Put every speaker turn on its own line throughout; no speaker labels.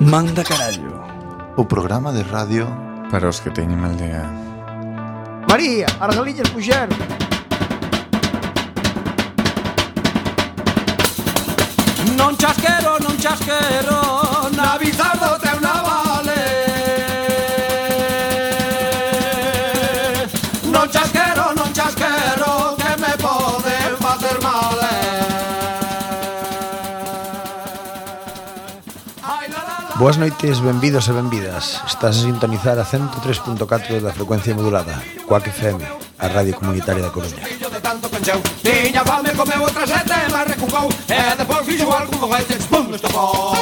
Manda carallo
O programa de radio
Para os que teñen aldea
María, as galinhas puxeron
Non chasquero, non chasquero Na bizardo treu na vale Non chasquero, non chasquero Que me poden facer mal eh. Ai, la, la, la.
Boas noites, benvidos e benvidas Estás a sintonizar a 103.4 da frecuencia modulada Coac FM, a radio comunitaria da Coruña
Fillo de tanto pencheu Tiña fame, comeu outra sete Mas recucou E depois fixo algún foguete Pum, estopou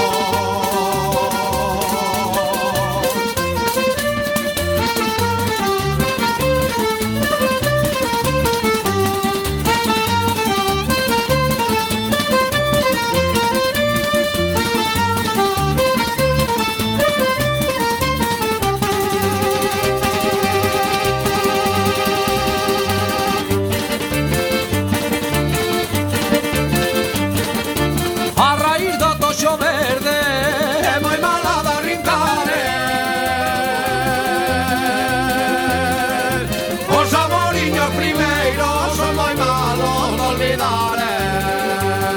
A raíz do toxo verde É moi mala da rincare Os amoriños primeiros Son moi malos de olvidar eh.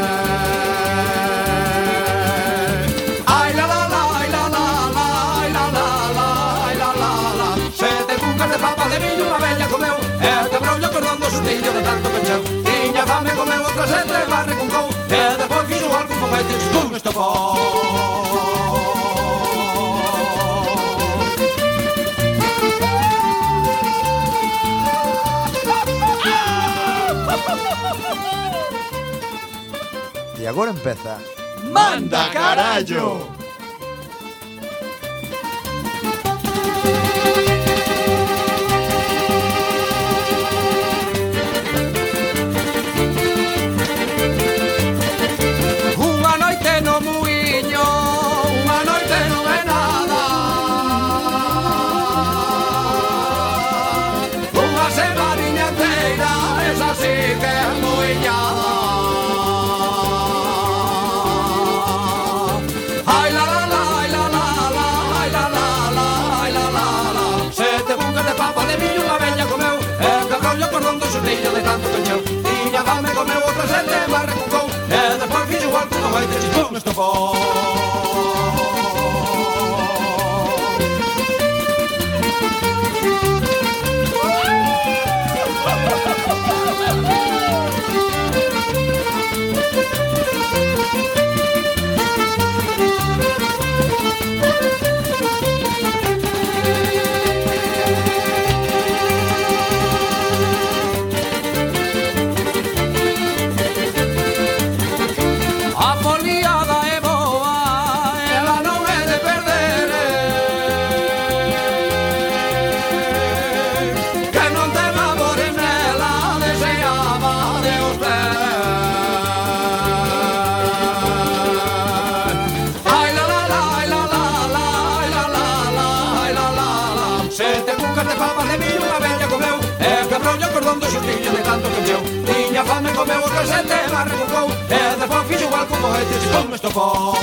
Ai la la la, ai la la la Ai la la la, ai la la la Sete cucas de papa de viño Unha bella comeu E te brollo cordón do sustillo de tanto pecheu Tiña fame comeu outra sete Barre con cou E depois fixo algún foguete Pum, estopou
E agora empeza
Manda carallo. Unha noite no muiño, unha noite no é nada. Unha semaninha inteira, esa sí que é muiñada. Ai la la la, ai la la la, ai la la la, ai la la la. Sete bucas de papa de millo unha bella comeu, e que rollo cordón do xurrillo de tanto cancheu. Tiña fame comeu outra sete, mas recucou, e despois fixo igual que unha baita e pum, estopou. A foliada é boa, ela non é de perder eh. Que non te labores nela, deseaba de os ver Ai la la la, ai la la la, ai la la la, ai la la la Sete cucas de papas de millo, unha bella Eh, comeu E quebrou o cordón do xustillo de tanto que encheu Tiña fame, comeu o casete, mas recucou E despois fixo igual como este, se como estopou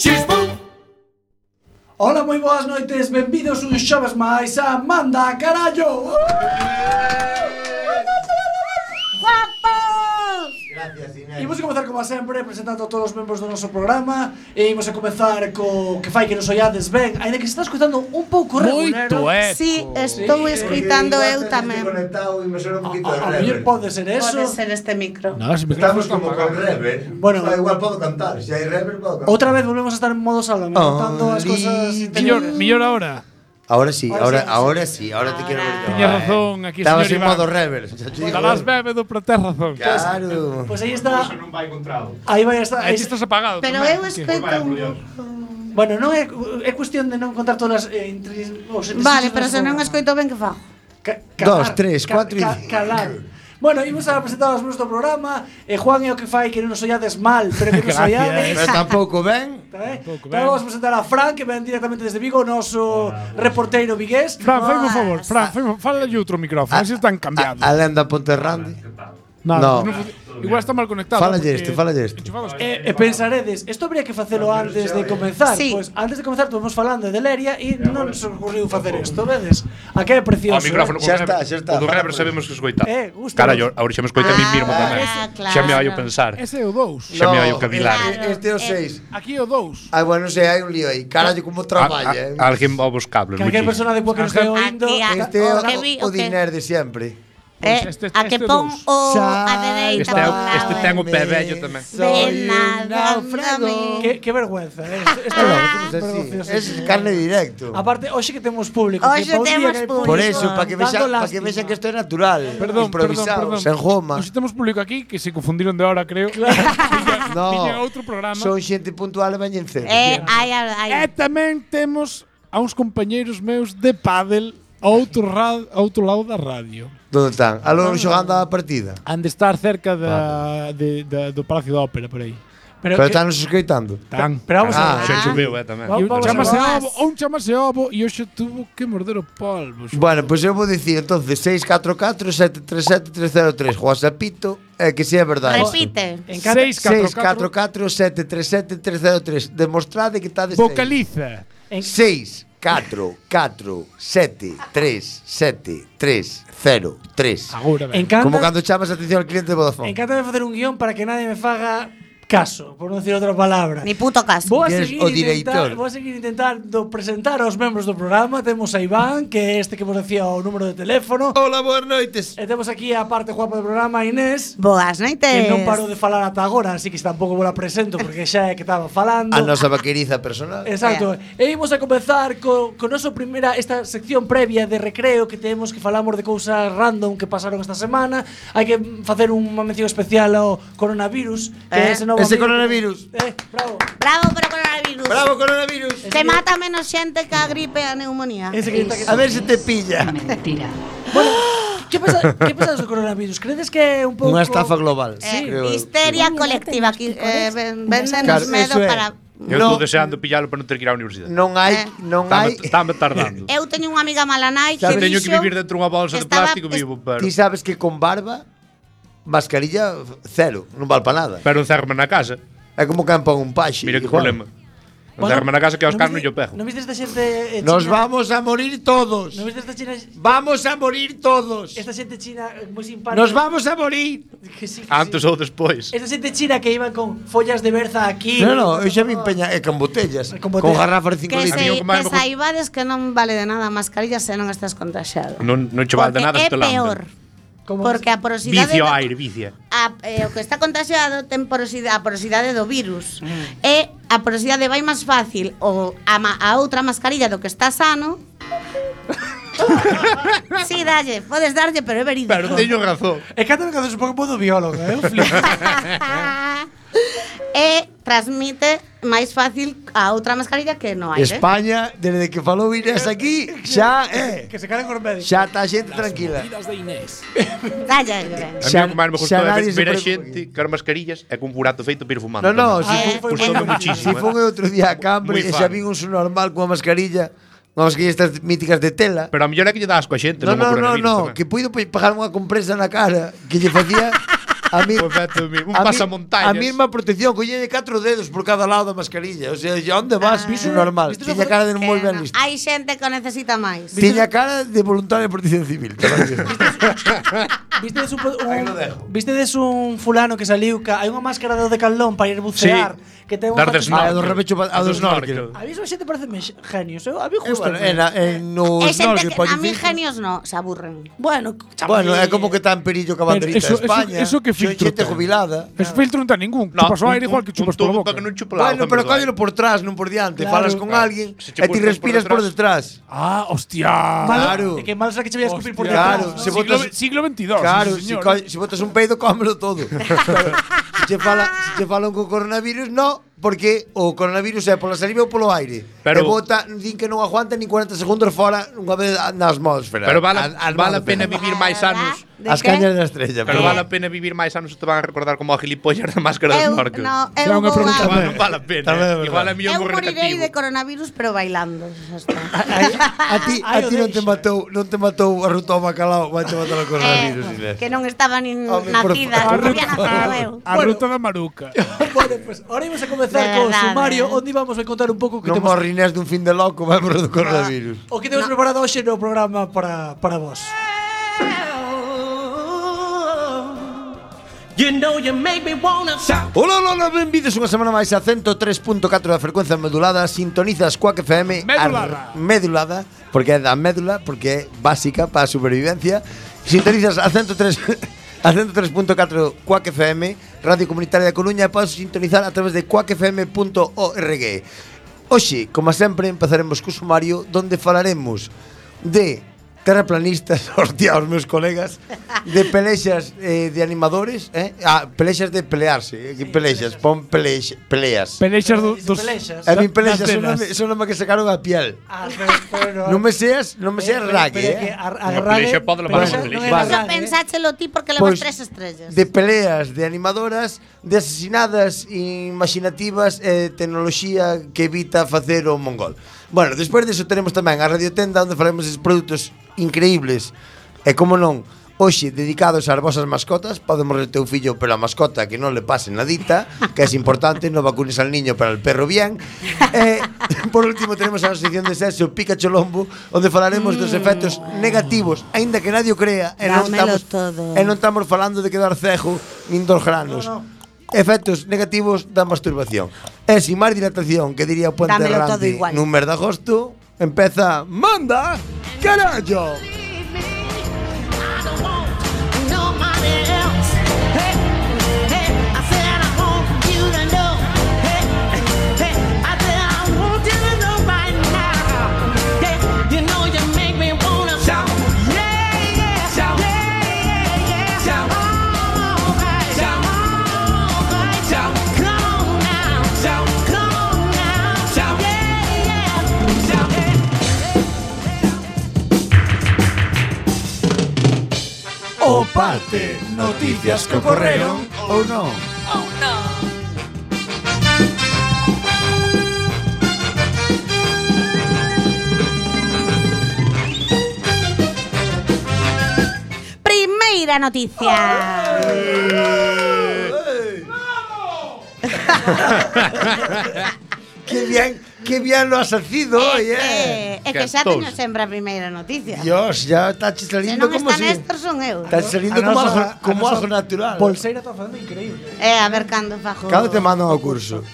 Chispum!
Ola, moi boas noites, benvidos un xoves máis a Manda Carallo
E
Imos a comezar como a sempre presentando a todos os membros do noso programa E imos a comezar co que fai que nos ollades ben Ainda que se está escutando un pouco regulero
eh. Sí, estou
Sí, Ah,
escritando eu tamén.
conectado e me suena un poquito de
A mellor
reverb.
pode ser eso
Pode ser este micro.
No, si
Estamos como con reverb.
Bueno.
Ah, igual podo cantar, se hai reverb podo cantar.
Outra vez volvemos a estar en modo salón
Ah,
Contando as cosas
Millor,
interiores
millor ahora.
Ahora sí,
Ahora
ahora,
sí,
ahora sí, ahora te quiero ver yo.
Tiña
eh.
Ah,
razón, aquí,
Estabas
señor
en
Iván.
modo rever. Xa te digo.
Estarás bêbado por ter razón.
Claro.
Pois aí está Aí vai a estar
Aí ti estás apagado.
Pero
tamén,
eu
tío.
escoito un...
Bueno, non é, é cuestión de non contar todas as eh, intris, os
Vale, pero se non
escoito
escoito ben que fa.
Ca-
Dos, tres, cuatro y-
calar. Bueno, imos a presentar os nuestro programa e Juan é o que fai que non nos ollades mal, pero que nos ollades.
Pero tampouco ben.
Eh? Pero vamos a presentar a Fran, que ven directamente desde Vigo, o noso reporteiro vigués.
Fran, fai un favor, Fran, fai un- fala lle outro micrófono, así están cambiados.
A lenda Ponterrande.
Nada,
no.
pues fun- Igual está mal conectado.
Fálalle
porque
este, fálalle este.
enchufados-
E, e pensaredes, isto habría que facelo antes de comenzar
Sí.
Pois antes de comenzar, estuvimos falando de Leria E non nos ocurriu facer isto, vedes? A que é precioso
O micrófono
eh?
Xa está, xa está.
O do rever sabemos que escoita.
Eh, gusta.
Cara, yo, ahora xa me escoita a mí mismo
Ah,
tamén.
claro.
Xa me vai a pensar.
Ese é o 2.
Xa me vai a cavilar.
claro.
Este é o
Eh.
6.
Aquí é o 2.
Ai, Ah, bueno, non sei, hai un lío aí.
Ah,
Carallo,
A-
como traballa, eh.
a- Alguén va vos cables.
Calquer persona de boa que nos estea oindo
Aquí, a-
Este é
o que
eh,
vi-
o- o
o que-
diner de sempre.
Eh,
Este- este-
a que
este
pon
dos. Ah,
o a
Este
dereita
é o-
por
este
lado.
ten o pé vello tamén.
De nada, náufrago.
Que, que vergüenza, eh? Isto
Ah,
é vergonzoso,
así.
sí, sí.
Es carne directo.
Aparte, hoxe que temos público
Hoxe
que pa un día
temos
que hai
público.
Por eso, para que
dando
vexan pa que
lástima.
vexan que isto é natural,
Perdón,
improvisado,
perdón, perdón.
sen goma.
Nos temos público aquí que se confundieron de hora, creo. Tiña-
No.
tiña outro programa.
Son xente puntual e veñen cedo.
Eh, ai, ai, ai.
E tamén temos a uns compañeiros meus de pádel a outro, ra- a outro lado da radio.
Donde están? A lo xogando a partida.
Han de estar cerca da, de, da, do Palacio da Ópera, por aí.
Pero,
Pero
que-
están nos escoitando.
Tan.
pero vamos a
Ah.
Xa subiu, eh, tamén.
Vamos,
E un
vamos,
chamase
vamos.
Ovo, un chamase Ovo e hoxe tuvo que morder o polvo.
Bueno, pois pues eu vou dicir entonces 644-737-303 Juan Sapito, é que se é verdade
Repite.
Encanta-
644
644-737-303 Demostrade que estades
vocaliza.
6 4 4 7 3 7 3 0 3
Agora, ben.
encanta,
Como cando chamas a atención ao cliente de Vodafone
encanta de facer un guión para que nadie me faga caso, por non decir outra palabra.
Ni puto caso.
Vou a,
Eres
seguir
o
intentar,
director.
vou a seguir intentando presentar aos membros do programa Temos a Iván, que é este que vos decía o número de teléfono
Hola, boas noites
E temos aquí a parte guapa do programa, a Inés
Boas
Que
noites.
non parou de falar ata agora, así que tampouco vos la presento Porque xa é que estaba falando
A nosa vaqueriza personal
Exacto.
Eh,
E imos a comenzar co, co noso primeira esta sección previa de recreo que temos que falamos de cousas random que pasaron esta semana. Hai que mm, facer unha mención especial ao coronavirus, que
Eh,
é ese novo
ese
amigo que-
coronavirus.
Eh, bravo.
Bravo por o coronavirus.
Bravo, coronavirus
Que mata menos xente que a gripe e a neumonía.
Ese que está que
A ver se te pilla
Mentira.
Bueno, que pasa, que pasa do coronavirus? Credes que é un pouco
Unha estafa global
Eh,
creo.
histeria colectiva que eh, ven-
Claro,
vendenos
eso
medo
é.
para
Eu estou deseando pillalo para non ter que ir á universidade.
Non hai,
Eh.
non hai
Estame, estame tardando.
Eu teño unha amiga mala nai
Xa
que
teño que
dixo-
vivir dentro dunha bolsa de
estaba-
plástico vivo, pero...
Ti sabes que con barba Mascarilla cero, non val para nada
Pero encerrame na casa.
É como campan un paxe
Mira que
igual.
problema. Encerrame na casa que a Oscar non yo pego.
Non viste esta xente eh,
Nos
china?
vamos a morir todos
Non viste esta china
Vamos a morir todos
esta xente china eh, moi simpática?
Nos vamos a morir
Que sí, que
Antes
sí.
ou despois.
Esta xente china que iban con follas de berza aquí.
No, no, eu xa vin peña eh, con botellas,
Con
con,
botellas.
garrafas de 5
que,
Había
se,
un que
litros.
máis
que
bajo-
saibades que non vale de nada a mascarilla se non estás contagiado.
Non, non che vale de
Porque
nada
é
este
peor.
Como
Porque a porosidade
Vicio
do-
aire, vicia.
a, eh, o que está contagiado ten porosidade, a porosidade do virus.
Mm.
E a porosidade vai máis fácil o a, ma, a outra mascarilla do que está sano. si, sí, dalle, podes darlle, pero é verídico.
Pero teño razón.
É que anda que haces un pouco modo biólogo, eh? un flipo.
e transmite máis fácil a outra mascarilla que no aire.
España, desde que falou Inés aquí, xa é.
que se calen os médicos.
Xa está a xente tranquila.
Dalle,
A mí o
Xa-
que máis me
xa
gustou é
nadie
ver,
se
ver a
preocupa.
xente con mascarillas e con burato feito para ir fumando.
No, no,
tamén.
si,
Eh,
fu-
eh,
gustou
no.
muchísimo, si
eh.
fun eu outro día a Cambre
Moi
e xa
fan.
vin un su normal cunha mascarilla, unha mascarilla estas míticas de tela.
Pero a mellor é que lle das coa xente, non
No, no,
ao
no,
coronavirus
no,
tamén.
que puido pe- pagar unha compresa na cara que lle facía a mí
Pois vete, mi- un
a mi-
pasamontañas.
A mesma protección, collelle catro dedos por cada lado da mascarilla. O sea, onde vas? Iso normal.
viste unha Ah.
Tiña
foto-
cara de
que
moi ben
no.
listo.
Hai xente que o necesita máis.
Tiña cara de voluntario de protección civil.
Vistedes un, un Vistedes un fulano que saliu ca, hai unha máscara do Decathlon para ir bucear, que ten unha
Dar de
Ah,
snorkel.
a do repecho pa- a do snorkel.
A mí esa xente parece genios, eu a mí
Eh,
justo.
bueno, era en no
É xente
snorkel
que a mí
pollifico.
genios no, se aburren.
bueno,
Bueno, é como que está en perillo que a banderita
Pero
de
eso-
España.
eso- eso que
Son
filtro
xente
ten.
jubilada.
Ese filtro non ten ningún.
No,
chupas o
un-
aire igual que
un-
chupas
un
pola
tubo
boca.
pa que non chupa la
Bueno,
boca,
pero
en verdade.
cóllelo por trás, non por diante.
Claro.
Falas con
Claro.
alguén
Se che
e
pulsas
ti
por
respiras por detrás.
Ah, hostia.
Claro.
Que mal será que che veias escupir por
Hostia.
detrás.
Claro,
¿no?
se
siglo,
botas-
siglo 22.
Claro,
sí,
si,
señor.
co- si botas un peido, cómelo todo. Pero se che fala, se che falan con coronavirus, no. porque o coronavirus é pola saliva ou polo aire.
Pero-
e bota, din que non aguanta nin 40 segundos fora unha vez na atmosfera.
Pero vale,
A- a
vale a pena vivir
atmosfera.
máis anos.
De
As
que?
cañas da estrella.
Pero vale a pena vivir máis anos se te van a recordar como a gilipollas da máscara
Eu,
dos Norcos.
no, eu
Será unha
vou
pregunta
a-
Igual non vale a pena.
Tamén é
eh.
verdade.
Igual é mellor
Eu
un
morirei
recreativo.
de coronavirus, pero bailando. xa está.
A ti, a
Ah, Ai, o
ti non te
deixo.
matou, non te matou a ruta ao bacalao, vai te matar o coronavirus,
Eh,
Inés.
que non estaba nin
Home, por
nacida,
favor.
non había nacido eu.
A
Bueno.
ruta da Maruca.
bueno, pues ahora íbamos a comenzar
De
con
verdade,
sumario
eh.
onde íbamos a contar un pouco o que
Non
temos
morre Inés dun fin de loco, vai morrer do
Ah.
coronavirus.
o que temos preparado hoxe no programa para para vos.
You know you make me wanna shout.
Ola, ola, ola, benvidos unha semana máis a 103.4 da frecuencia modulada Sintonizas Quack FM
Medulada.
Medulada, porque é da médula Porque é básica para a supervivencia Sintonizas a 103 A 103.4 Quack FM Radio Comunitaria da Coruña E podes sintonizar a través de quackfm.org Oxe, como sempre, empezaremos co sumario Donde falaremos de terraplanistas, hostia, os meus colegas de pelexas eh, de animadores, eh? Ah, pelexas de pelearse, eh, que pelexas, pon pelex, peleas.
Pelexas do,
Dice
dos...
pelexas.
A mí
das
pelexas son
penas.
nome, son nome que sacaron a piel.
Ah, pero, pero
Non me seas, non me seas rague,
Que
eh?
a, a
Unha
rague,
pelexa pode levar
pelexa
unha
non
pelexa.
é
Vale.
Eso
rague,
pensáchelo ti porque levas
Pois,
tres estrellas.
De peleas de animadoras, de asesinadas imaginativas e eh, tecnoloxía que evita facer o mongol. Bueno, despois disso tenemos tamén a Radiotenda onde faremos esos produtos increíbles e como non, hoxe dedicados ás vosas mascotas, pode morrer teu fillo pero a mascota que non le pase nadita, que é importante, non vacunes al niño para el perro bien. E, por último, tenemos a sección de sexo Pikachu Lombo, onde falaremos dos efectos negativos, aínda que nadie o crea, e non
Mm.
estamos,
Dámelo todo.
e non estamos falando de quedar cejo nin dos granos. No, no. Efectos negativos da masturbación. E sin máis dilatación, que diría o Puente
Dámelo todo
Randy
igual.
nun mes de agosto, empeza Manda Carallo!
O
parte, noticias que ocorreron ou non.
Primeira noticia.
Que bien, que bien lo has hacido hoy, eh.
É que xa
Gastous.
teño sempre a primeira noticia.
Dios, ya está
Se
saliendo
non
como
está
si...
Néstor son eu.
Está saliendo como algo, como algo natural.
Bolseira está facendo increíble.
Eh, a ver cando fajo.
Cando te mandan ao curso?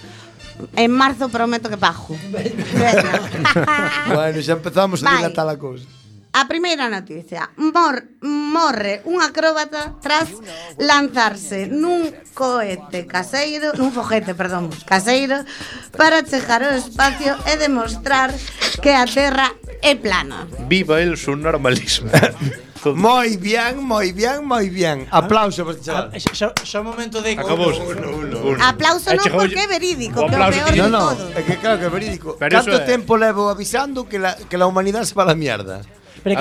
En marzo prometo que pajo. Veña.
bueno, xa empezamos a
Vai.
dilatar a cousa.
A primeira noticia. Mor, morre un acróbata tras lanzarse nun cohete caseiro, nun foguete, perdón, caseiro, para chegar ao espacio e demostrar que a Terra é plana.
Viva el su normalismo.
Moi bien, moi bien, moi bien. Aplauso para este chaval.
Ah, xa- Xa xa o momento de
Acabou.
Aplauso
eh,
non porque é verídico, que é o peor
No, no,
de todo.
é que claro que é verídico.
Pero eso
Canto
é-
tempo levo avisando que la, que la humanidade se va a la mierda?
Pero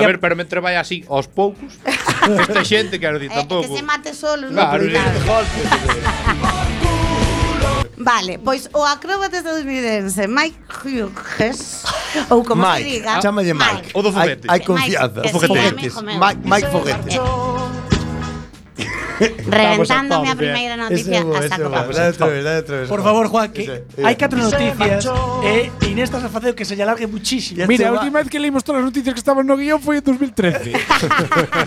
A
que
ver, pero mentre vai así aos poucos, esta xente quero dicir
Eh, que
tampouco.
se mate solo,
Claro,
eh.
non
sí.
Vale, pois o acróbata estadounidense Mike Hughes ou como se
Mike,
diga,
chámalle Mike.
O do foguete.
Hai, hai confianza.
Mike,
O foguetes.
ese é amigo meu.
Mike, Mike Foguetes.
reventándome a primeira noticia a saco papo.
Por favor, Juan, que
Ese,
hai
ese.
catro noticias e Inés estás a facer que se lle alargue muchísimo.
Ya
Mira, a
Este
última vez que leímos todas as noticias que estaban no guión foi en 2013.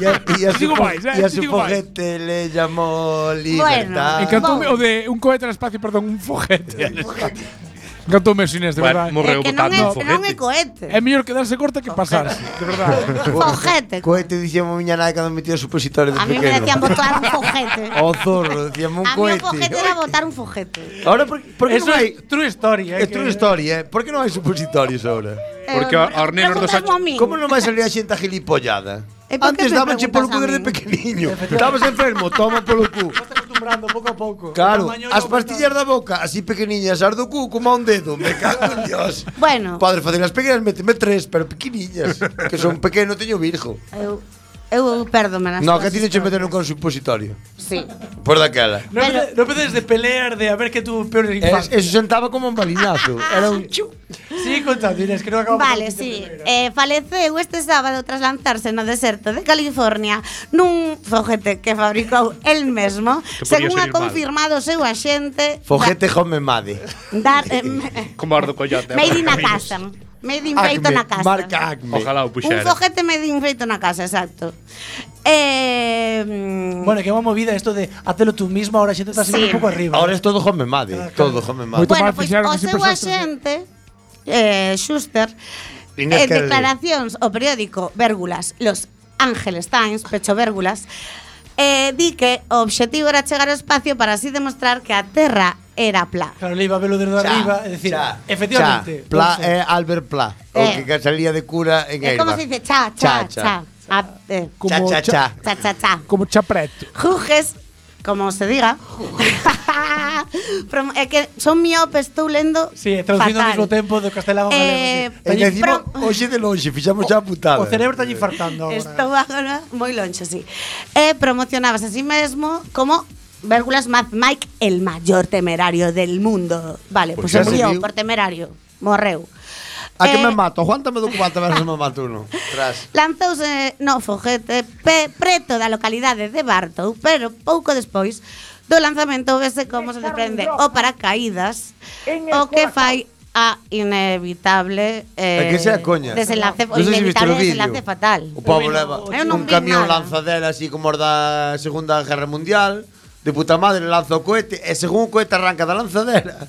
E a, e a su,
Digo máis, eh,
e a su
digo máis.
foguete le llamó libertad.
Encantoume o de un cohete al espacio, perdón, un foguete. Encantoume eso, Inés, de
Bueno,
verdade.
morreu
É que non
botando
é,
un
non é
foguete.
cohete.
É mellor quedarse corta que pasarse, de verdade.
Fojete.
Cohete dicíamos miña nai cando metía supositores de
A mí me
pequeno.
decían botar un fojete.
O zorro, decíamos un
A mí un
cohete.
fojete era botar un fojete.
Ahora, por, por que
Eso
non hai...
é true story, eh.
É true story, eh? Por que non hai supositorios ahora?
Porque
Eh,
os nenos dos
preguntadmo a min.
Como non vai salir a xente agilipollada?
E por que
Antes
me
dabanche polo cu desde
preguntas a min?
pequeniño. Estabas enfermo, toma polo cu.
desmembrando pouco a pouco.
Claro,
Tamaño
as
non,
pastillas da boca, así pequeniñas, as do cu como a un dedo, me cago en Dios.
Bueno,
Padre, facer as pequenas, méteme tres, pero pequeniñas, que son pequeno, teño virgo.
eu eu perdome nas
No,
túas
que ti non che meter
historias.
un supositorio.
Sí.
Por daquela.
Non
Pero-
pede- non pedes de pelear de a ver que tuvo peores
Es,
infancia.
eso sentaba como un balinazo. Era un chiu.
Sigue contando, Inés, que non acabamos.
Vale,
este
sí. Eh, faleceu este sábado tras lanzarse no deserto de California nun foguete que fabricou el mesmo,
Que podía
según ha
salir mal.
confirmado o seu axente
Fojete home made.
da, da, eh,
Como ardo collote.
Made in a
Caminos.
casa. Made in
Ah,
feito na casa.
marca Acme.
Ojalá o
Un
puxera.
foguete made in feito na casa, exacto. Eh, mm,
Bueno, que é unha movida isto de hacelo tú mismo, ahora a xente está
Sí.
sí. un pouco arriba.
Ahora es todo home made,
Ah,
todo home made.
Moito
bueno,
mal
pues, pois
fixeron
o
que
seu
sempre sostres, eh.
axente eh, Schuster
Inés
en
Carles.
declaracións ao periódico Vérgulas, Los Ángeles Times, pecho Vérgulas, eh, di que o obxectivo era chegar ao espacio para así demostrar que a Terra era plá.
Claro, le iba a verlo desde arriba, é dicir,
xa,
efectivamente.
xa. Pla
vamos a-
é Albert Pla, o
Eh.
que salía de cura en
É
Elba.
como se dice, cha, cha, cha. A, eh,
Cha,
Como
cha,
cha-
cha.
cha, cha, cha.
Como chapreto.
Juges, como se diga. Prom- é que son miopes, estou lendo
Sí, traducindo ao
fatal.
mesmo tempo do castelán ao
Eh,
galego. sí.
E
Teñi-
encima,
Pro-
hoxe de longe, fixamos xa a putada.
O cerebro está infartando agora.
Estou agora moi lonxe, sí. E promocionabas a sí mesmo como Vérgulas Mad Mike, el maior temerario del mundo. Vale, pois
Pois xa
pues
se
murió
viu.
por temerario. Morreu.
A que me
Eh,
mato? Aguántame do cubata, verás me mato uno. Tras.
Lanzouse no foguete pe, preto da localidade de Bartow, pero pouco despois do lanzamento vese como se desprende o paracaídas, o que fai a inevitable eh,
É que sea coña.
desenlace, o
Non sei se viste
inevitable
o vídeo.
desenlace fatal.
O pavo
Eu
leva
non-
eu non
un
vi
camión
nada.
lanzadera así como os da Segunda Guerra Mundial. De puta madre lanza o cohete e según o cohete arranca da lanzadera,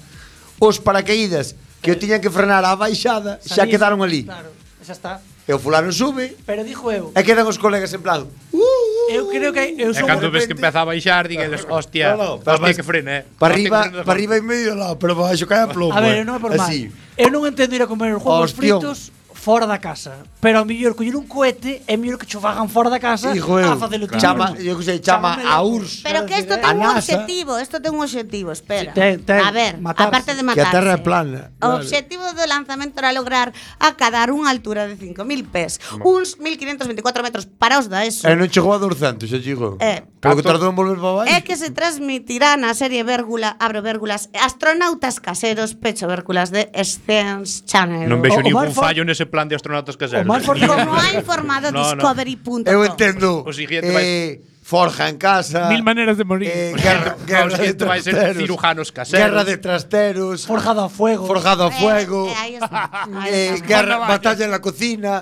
os paracaídas que o tiñan que frenar á baixada xa
Salís,
quedaron ali.
Claro, xa está.
E o fulano sube
Pero dixo eu,
e quedan os colegas en plan. uh.
eu creo que hai- eu
E
son
cando ves que
repente-
empeza a baixar, dígueles, hostia,
No, no,
hostia
vas-
que frene, eh.
Para
Hostia, que
arriba,
frene de
para arriba e medio lado, pero para baixo cae a plomo.
A ver,
eh.
eu non é por mal.
Así.
Eu non entendo ir a comer os huevos
Aos tío.
fritos fora da casa. Pero a mellor coller un cohete é mellor que cho fagan fora da casa
Hijo
a
eu.
facelo tú.
Chama,
mismo.
eu que sei, chama
Chámame
a
loco.
URSS.
Pero que isto ten
A
un
NASA.
obxectivo, isto ten un obxectivo, espera.
Sí, ten- ten,
a ver,
matarse.
aparte de
Que a
matarse.
terra é plana.
O
Vale.
obxectivo do lanzamento era lograr acadar unha altura de 5.000 pés, uns 1.524 metros para os da ESO.
E non chegou a 200, xa chegou.
Eh.
Pero que tardou en volver para baixo.
É que se transmitirá na serie Vérgula, abro Vérgulas, astronautas caseros, pecho Vérgulas de Science Channel.
Non vexo
O- o
ningún
Marford-
fallo nese plan de astronautas caseros.
O Marford-
Como ha informado
No, no.
Discovery.com.
Eu entendo.
O siguiente
eh, Forja en casa.
Mil maneras de morir.
Eh,
O
guerra,
siguiente-
guerra
o
de
siguiente vai ser
trasteros.
cirujanos caseros.
Guerra de trasteros.
Forjado a fuego.
forjado a
Eh,
fuego.
eh, ahí está. Ahí
eh,
está.
guerra, batalla en la cocina.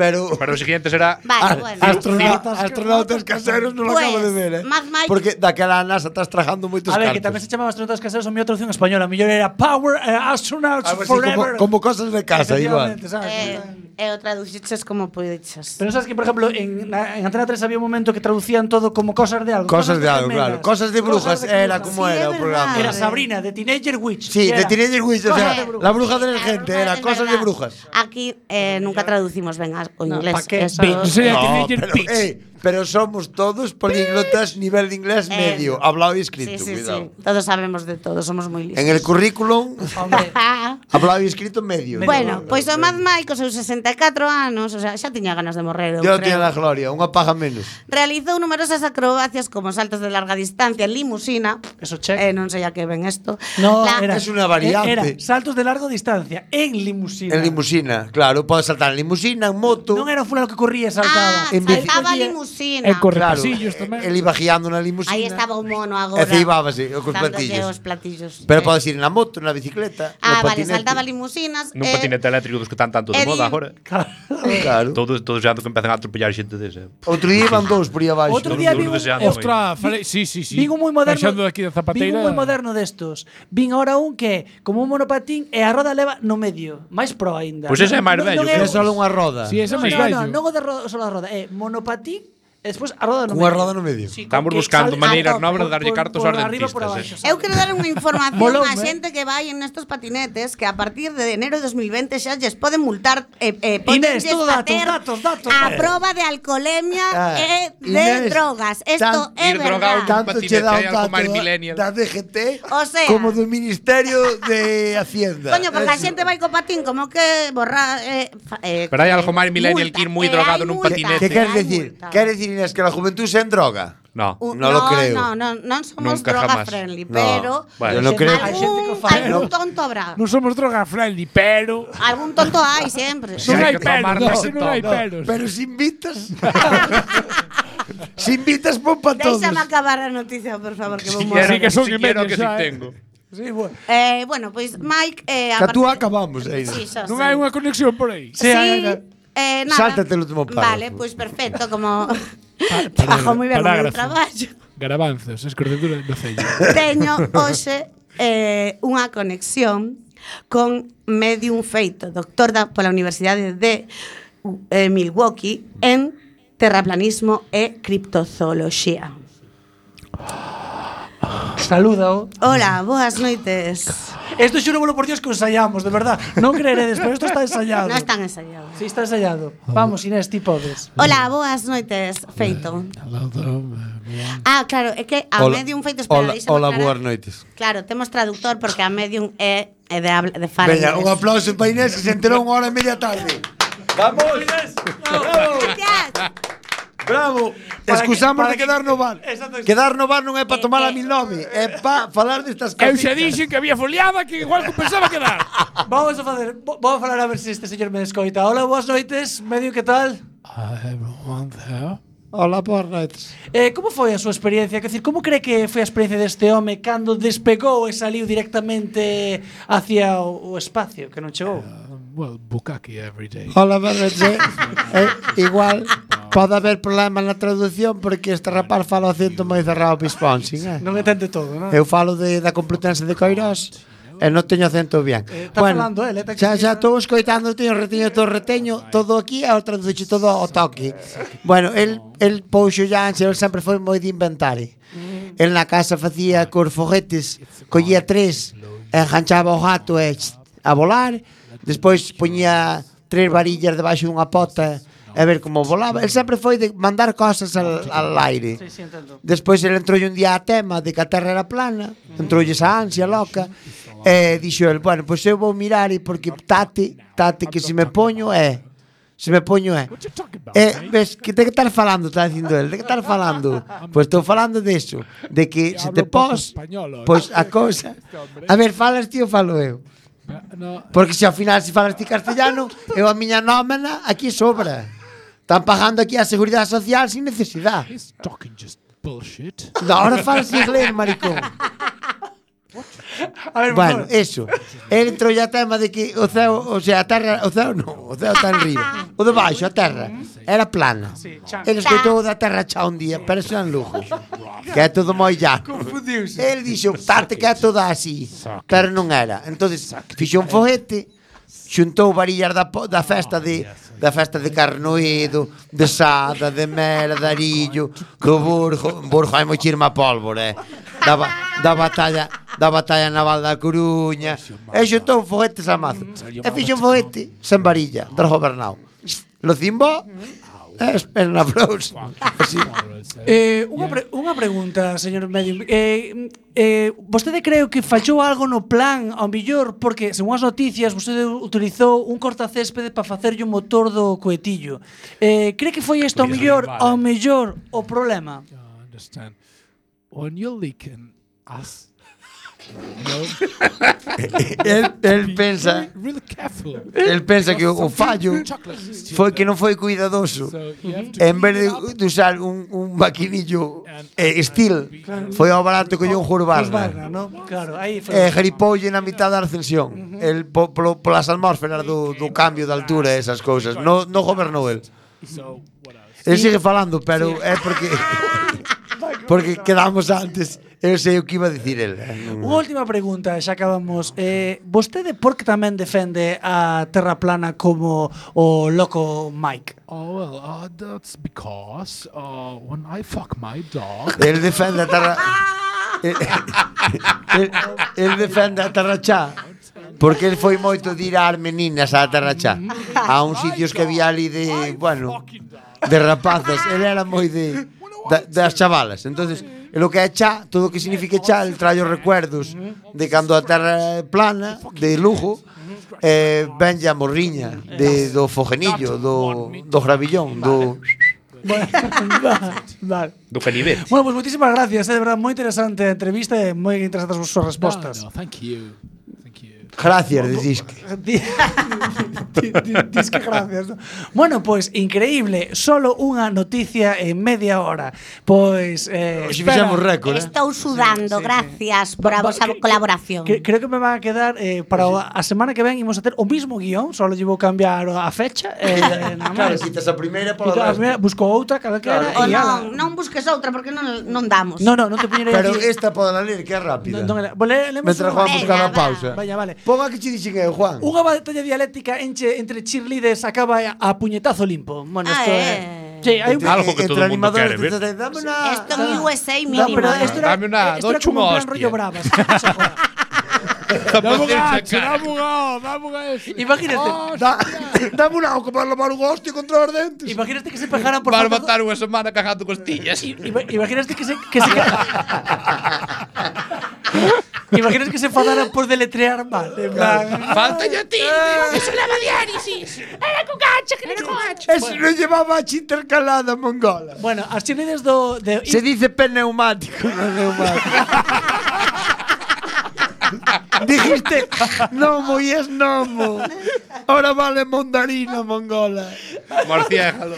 Pero.
Pero o siguiente será
Ah,
Vale, bueno.
astronautas, astronautas caseros non lo
Pues,
acabo de ver, eh.
Mad Mike-
Porque daquela a NASA estás trajando moitos
A ver, que
cartos.
tamén se chamaba astronautas caseros, a miña traducción española, a mellor era Power eh, Astronauts
Algo así
Forever.
como, como cosas de casa, igual.
Efectivamente, sabes?
Eh, eu traduxiches como pudiches.
Pero sabes que, por ejemplo, en, na- en Antena 3 había un momento que traducían todo como cosas de algo.
Cosas de algo,
gemelas,
claro. Cosas de brujas, era
cosas.
como
Sí,
era
de
o programa.
Era
Ah,
Sabrina, de Teenager Witch.
Sí,
que
de
era-
Teenager Witch, o
Cosas
sea,
de brujas.
la bruja del
La
gente,
bruja
era
del
cosas de
verdad.
brujas.
Aquí eh, nunca traducimos, venga, o inglés.
¿pa' qué?
eso-
Yo soy a teenager
pero,
bitch.
eh, pero somos todos políglotas, nivel de inglés
Eh,
medio, hablado y
sí,
escrito.
sí,
cuidado.
sí. Todos sabemos de todo, somos muy listos.
En el currículum,
Hombre,
hablado y escrito medio.
bueno, pues pois o Mad Mike, os seus 64 anos, o sea, xa tiña ganas de morrer, eu
Yo
creo.
tiene la gloria, unha paja menos.
Realizou numerosas acrobacias como saltos de larga distancia en limusina.
Eso check.
Eh, non sei a que ven isto.
No,
La-
era,
es una variante.
Era saltos de largo distancia en limusina.
En limusina, claro, podes saltar en limusina, en moto.
Non era o fulano que corría e
Ah,
saltaba.
En bici.
saltaba
Oye,
limusina.
E corre
claro,
pasillos tamén.
el iba guiando na limusina.
Aí estaba o mono agora.
E ceibábase, o cos
dándolle
platillos.
os platillos.
Pero
Eh.
podes ir na moto, na bicicleta,
Ah,
no
vale,
patinete.
saltaba limusinas.
nun
eh,
patinete eléctrico dos que están tanto de
Eddie-
moda agora.
Claro.
Todos todos xa que empezan a atropellar xente dese.
Outro día iban dous por aí abaixo.
Outro
non-
día
non
vi un,
deseando.
Ostra, falei, sí, sí, sí.
Vin un moi moderno.
Baixando daqui da
Vin
zapateira.
un moi moderno destos. Vin ahora un que é como un monopatín e a roda leva no medio, máis pro aínda.
Pues
Pois ese é máis
Non- non
bello,
Que
o-
é só unha roda.
Sí, ese é
Non,
máis
non,
bello.
non, non o de roda, só a roda, é monopatín E despois Eh, a roda no
Cunha
medio.
roda no medio.
Sí,
Estamos
con que
buscando
sal-
maneiras
a tope,
novas de
por-
darlle
por-
cartos
por
aos
arriba, por
dentistas,
abaixo,
eh.
sí.
Eu quero dar unha información
Molou, eh?
á xente que vai en estos patinetes que a partir de enero de 2020 xa lles poden multar e eh, eh,
Inés,
pódenlles
todo datos,
facer
datos, datos.
a proba de alcoholemia
Ah,
e eh, de
Inés,
drogas. Isto
tan-
ir
é
drogado
verdade.
tan-
Tanto che
patinete,
dá o
hai algo
dato
máis
eh.
da-
millennial.
da DGT
O sea-
como do Ministerio de Hacienda.
Coño, porque a
Eh,
xente vai co patín como que borra eh, fa- eh,
Pero hai algo máis millennial
multa,
que ir moi
que
drogado
hai
nun
multa,
patinete.
¿Qué
Que
quieres
hai
decir?
multa.
¿Quieres decir, Inés, que la juventud se en droga?
No.
U-
No lo creo.
No, no, no somos
Nunca
droga
jamás.
friendly,
No,
pero
bueno.
yo no creo que-
Hay gente que o
algún,
fai,
algún tonto habrá.
Non somos droga friendly, pero
Algún tonto hai sempre.
Sí,
non hai
hay que tomar
peros,
ese
non hai
tono.
peros.
Pero si invitas. si invitas, pon para todos.
Deixame acabar a noticia, por favor, que vou
Así
morrer.
que son
si
e
quiero
medio
que si
xa, eh.
tengo.
Sí, bueno.
Eh, bueno, pois pues, Mike eh, a
Que tú
partir-
acabamos, eh, Inés.
Sí, xa
Non
sei.
hai unha conexión por aí.
Sí,
hai unha-
eh, nada.
Sáltate el último párrafo.
Vale, pois pues perfecto, como trabajo moi ben o meu
parágrafo.
traballo.
Garabanzos, escorredura do cello.
Teño hoxe eh, unha conexión con Medium Feito, doctor da, pola Universidade de eh, Milwaukee en terraplanismo e criptozooloxía.
Saluda, o.
Hola, boas noites.
Esto xurovolo por Dios que ensayamos, de verdad. Non creeredes, pero esto está ensayado.
Non están ensayados.
Sí, está ensayado. Vamos, Inés, ti podes.
Hola, boas noites, Feito. Ah, claro, é que a Medium Feito
Eh.
espera,
Hola,
deixa-me
hola
aclarar.
boas noites.
Claro, temos traductor porque a Medium é, é de, habla, de fala
Veña,
inglés.
un aplauso para Inés que se enterou unha hora e media tarde. Vamos,
Gracias.
bravo.
Para
Excusamos
que- para
de quedar no bar.
Exacto.
Quedar no bar non é para tomar a
Eh, eh.
1009, é para falar destas
Eu
cousas.
xa dixen que había foliada que igual compensaba quedar.
Vamos a facer, vo- vou a falar a ver se este señor me escoita. Hola, boas noites, medio que tal?
Hola, boas noites.
Eh, como foi a súa experiencia? Quer decir, como cree que foi a experiencia deste home cando despegou e saliu directamente hacia o, o espacio que non chegou?
Well, bukkake every day.
Hola, boas noites. Eh, igual pode haber problema na traducción porque este rapaz fala o acento moi cerrado Wisconsin, eh?
Non entende todo, non?
Eu falo de, da Complutense de Coirós e non teño acento bien.
está falando el, eh, tá que
xa,
se diga.
xa estou escoitando, teño reteño, todo reteño, todo aquí e o traduci todo ao toque. Bueno, el, el pouxo ya ansia, el sempre foi moi de inventar. eh. El na casa facía cos foguetes, collía tres, enganchaba o gato e ch, a volar, despois poñía tres varillas debaixo dunha pota e ver como volaba. El sempre foi de mandar cosas al, al aire.
Sí, sí, entendo.
Despois ele entrou un día a tema de que a terra era plana, entroulle esa ansia loca, e dixo el, bueno, pois eu vou mirar e porque tate, tate que se me poño é, se me poño é. E ves, que te que estar falando, está dicindo el, de que estar falando? Pois estou falando deso, de que se te
Hablo pouco
pos,
español, ¿eh? oi.
pois a cousa, a ver, falas ti ou falo eu?
No,
Porque se ao final se falas ti castellano, eu a miña nómena aquí sobra. Están pagando aquí a Seguridade Social sin necesidade.
he's talking just bullshit.
No, ahora falas inglés, maricón.
A ver,
Bueno, eso. El entrou ya tema de que o céu, o sea, a terra, o céu non, o céu está en río. O de baixo, a terra, era plana.
Sí, chan.
El escoitou o da terra xa un día, pero xa en lujo. Que é todo moi llaco. Confundiuse. El dixo, tate que é toda así, pero non era. entonces fixo un foguete, xuntou varillas da, po-
Oh,
da festa de da festa de Carnoedo, de Sada, de Mera, de Arillo, do Borgo, Borgo hai moi chirma pólvora, eh. Da, ba- da batalla da batalla naval da Coruña. E xuntou foguetes a mazo.
Mm,
E fixo un foguete sen varilla, do Gobernao. Lo cimbó,
Mm-hmm.
eh, e en aplauso. Así.
Eh, unha, pre unha pregunta, señor Medium. Eh, eh, vostede creo que fallou algo no plan, ao millor, porque, según as noticias, vostede utilizou un cortacéspede para facerlle un motor do coetillo. Eh, cree que foi isto ao millor, ao mellor, o problema?
I understand. When you're leaking us,
El, el pensa,
really careful.
el pensa que o fallo
Chocolate is too-
foi que non foi cuidadoso.
So you have to
En vez de, de usar un, un maquinillo eh, steel, foi ao barato que un
Pues
Hurbarna.
barra, non? Claro, aí foi.
Eh, gripolle na mitad da ascensión el, po, polo, polas atmósferas do, do cambio de altura e esas cousas no, no gobernou el
So what else?
el sigue falando pero é porque Porque quedamos antes. Eu sei o que iba a dicir el.
Unha última pregunta, xa acabamos. Eh, vostede por que tamén defende a Terra plana como o loco Mike?
Oh, well, uh, that's because uh, when I fuck my dog.
El defende a Tarra... El, el, el defende a Tarrachá. Porque el foi moito de ir a Armeninas a Tarrachá. A uns sitios que había ali de, bueno, de rapazas. El era moi de da, das chavalas. Entonces, el o que é chá, todo o que significa chá, el traio recuerdos de cando a terra é plana, de Lugo, eh, venlle a morriña de, do fogenillo, do, do gravillón, do...
Bueno, vale.
Do Felipe.
Bueno, pues moitísimas gracias, é de verdad moi interesante a entrevista e moi interesantes as súas respostas.
No, no, thank you. Thank you.
Gracias, decís que.
Di- di- di- Dis que gracias. ¿no? Bueno, pois increíble, solo unha noticia en media hora. Pois eh
Hoxe
espera,
fixemos récord, eh?
Estou sudando, gracias por
Va-
a
va-
vosa
que-
colaboración.
que- creo que me va a quedar eh, para o- a semana que ven imos a ter o mismo guión, só llevo cambiar a fecha e eh, nada
Claro,
máis.
quitas a primeira
Quita-
para
a primeira, busco outra cada que era
O
e ala.
non, non busques outra porque non non damos.
No, no, non te poñerei
Pero
aquí.
esta pode la ler, que é rápida.
Non, non era. Vole, lemos
Mientras
unha-
Juan
Venga,
buscaba
va.
pausa.
Vaya, vale.
Ponga que che dixen eu, Juan.
Unha batalla dialéctica enche entre cheerleaders acaba a, a puñetazo limpo. Bueno,
Ah,
isto é.
eh.
Sí, hai un
Algo que
Entre
todo el mundo
animadores,
quiere ver.
te- te- dame una-
Esto en USA
No,
mínimo.
pero
eh.
esto era,
Dame una-
esto era
dos
como un plan
chumos,
rollo
tío.
bravas. que se joda.
Dame un gacho, dame un gacho, dame un Oh, gacho.
Imagínate.
Da- dame unha ao comprar lavar un hostia contra os dentes.
Imagínate que se pegaran por
Vas a
falta-
matar una semana cagando costillas.
Ima- Imagínate que se que se Imaginas que se enfadaran por deletrear mal. en plan,
Falta ya ti.
Ese non llevaba a chinta intercalada mongola.
Bueno, as cheerleaders do de
Se dice pneumático, no neumático. Dijiste, nomo y es nomo. Ahora vale mandarina mongola.
Morciéjalo.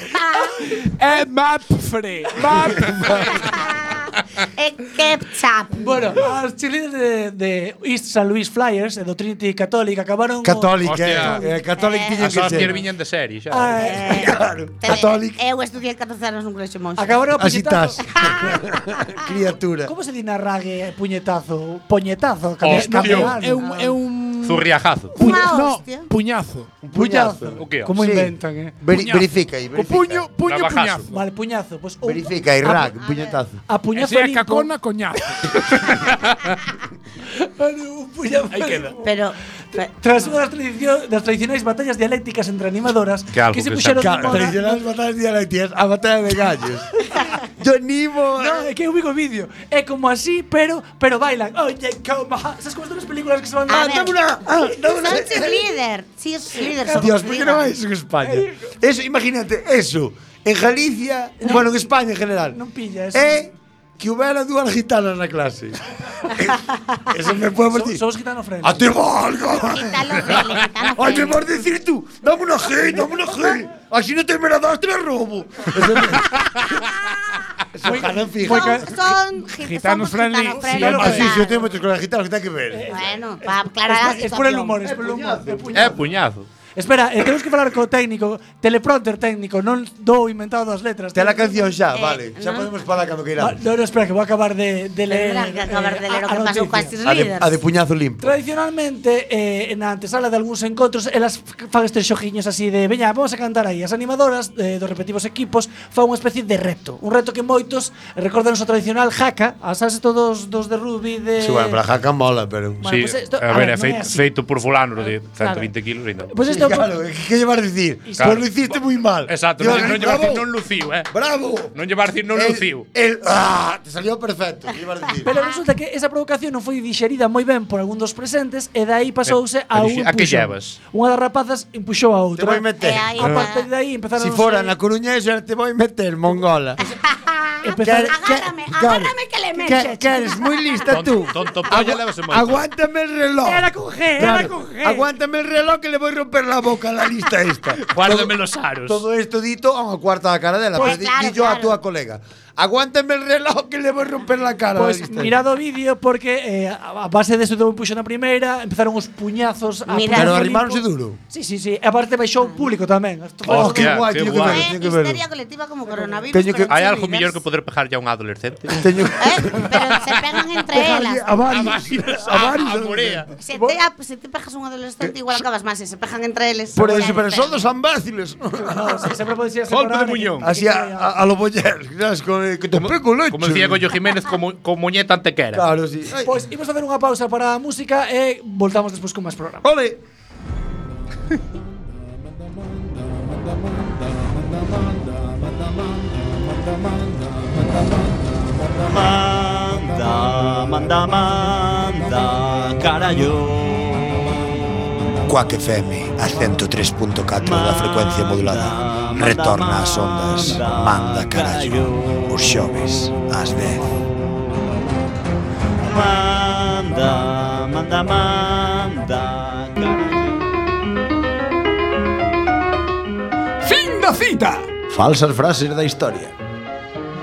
É Mapfre. Mapfre.
É ketchup.
Bueno, as cheerleaders de, de East San Luis Flyers e do Trinity Catholic acabaron co-
Católica,
Hostia.
eh, católica tiña
As
que
hostias
ser.
viñan de serie, xa.
Ah,
Eh, te-
Católico.
Eh, Eu estudiei 14 anos nun colexio monxe.
acabaron a
Así estás.
puñetazo.
Criatura.
Como se di na rague e puñetazo?
Oh,
Poñetazo,
Hostia.
campeón.
É un... É un...
Zurriajazo.
Unha
puña- no,
hostia.
puñazo.
O que é?
Como
Sí.
inventan, eh?
Veri-
Puñazo.
verifica aí,
O
verifica.
puño, puño,
Navajazo.
puñazo.
Vale, puñazo, pois, pues un-
Verifica aí, rack, puñetazo.
a puñazo
Ese é
limpo.
cacona, coñazo.
Vale, un puñazo limpo.
Pero pe-
Tras unha das, tradicio- das tradicionais batallas dialécticas entre animadoras
Que algo
que se
que
puxeron de
sacar.
moda...
Tradicionales batallas dialécticas, a batalla de gallos. Yo nimo.
No, é que eu vi o vídeo. É como así, pero pero bailan. Oye, como... ja- Sabes como estas películas que se van...
A ver.
Dame una, ah, dame una.
son cheerleader. Cheerleader. son
Dios, ¿por qué no
cheerleader.
vais en España? Eso, imagínate, eso. En Galicia, bueno, en España en general.
Non pilla eso.
É que hubiera dúas gitanas na clase. Eh, eso me puede
So,
partir.
somos gitano frente.
¡A ti valga!
Quítalo, Feli, quítalo,
¡Ay, me
Feli.
vas a decir tú! ¡Dame una G, dame una G! ¡Así no te me la das, te la robo! Eso me- Eso ojalá fija.
Son, son gitanos
Gitanos friendly.
gitanos
Sí,
friendly,
Ah, sí,
claro.
sí, yo tengo muchos con la gitana, ¿qué tiene que ver?
Bueno, para aclarar la
Es por el
situación.
humor, es por el humor. é puñazo.
Eh,
É puñazo.
Espera, eh, tenemos que falar co técnico, teleprompter técnico, non do inventado das letras.
Está la canción ya, vale.
Eh,
Ya
no.
podemos parar cuando
Ah,
queramos.
no, no, espera, que voy a acabar de, de leer.
Tendrán que acabar
eh,
de leer o
a-
que
a
pasou
noticia.
coas cheerleaders.
A de, a de puñazo limpio.
Tradicionalmente, eh, na antesala de algúns encontros, elas f- fan estes xojiños así de Veña, vamos a cantar aí As animadoras eh, dos respectivos equipos fan unha especie de reto Un reto que moitos recordan o tradicional jaca As sabes todos dos de rugby de...
Sí, bueno, para jaca mola, pero.
Bueno,
Sí,
pues esto-
a
a
ver, é
ver, non é
feito,
así.
feito por fulano de
Claro. Pues
120 kilos ainda.
Pois isto
Sí, claro, ¿qué llevar a decir?
Claro.
Pues lo hiciste muy mal.
Exacto,
Digo,
non, non llevar a
bravo,
decir non luciu, eh.
¡Bravo!
Non llevar a decir non
El-
luciu.
el- ah, te salió perfecto. ¿qué llevar a decir?
Pero resulta que esa provocación non foi dixerida moi ben por algún dos presentes E dai pasouse a
pero
un
dixi- a que
empuxón.
llevas?
Unha das rapazas empuxou a outra
te voy a meter.
Eh, ahí
A
está.
partir de aí empezaron
Si
a-
fuera en La Coruña, eso ahora te voy a meter, mongola.
empezaron-
Agárrame,
Claro.
agárrame que le
Que,
metes.
que eres muy lista tú.
Tonto- tonto polla levas en moito.
Aguántame el reloj.
Era con G, era
Claro,
con G
Aguántame el reloj que le voy a romper la boca a la lista esta.
Guárdame los aros.
Todo esto dito a unha cuarta da cara dela,
Pois
pero di-
claro,
dillo a
claro.
túa colega. Aguántame el reloj que le vou romper la cara.
Pois mirado o vídeo porque eh, a a base deso deu un puxo na primeira, empezaron os puñazos a punto
Mirad. Pero
limpo.
arrimáronse duro.
Sí, sí, sí. E aparte baixou o público tamén. Isto foi-
Oh, Hostia,
guai,
qué
teño que
guai.
ver,
É
teño que ver.
histeria colectiva como coronavirus.
Teño que-
pero
Hay
sin
algo
líderes.
mejor que poder pejar ya a un adolescente.
Teño
Eh, Pero se pegan entre elas.
a varios.
a, a morea.
Se te, a- se te pegas un adolescente, igual acabas mal. Se se pegan entre eles.
Por
igual
eso, pero
te-
son dos ambáciles.
No, se- sempre pode ser
Golpe
separar
de muñón.
e que-
Así a, a, a lo boller, ¿sabes? Con el, que te pego leche.
Como decía Goyo Jiménez, como, como muñeta antequera.
Claro, sí. Ay,
Pois imos facer unha pausa para a música e voltamos despois con máis programa.
Ole.
Manda, manda, manda, carallo.
Quack FM a 103.4 da frecuencia modulada Retorna as ondas Manda carallo Os xoves ás 10
Manda, manda, manda,
Falsas frases da historia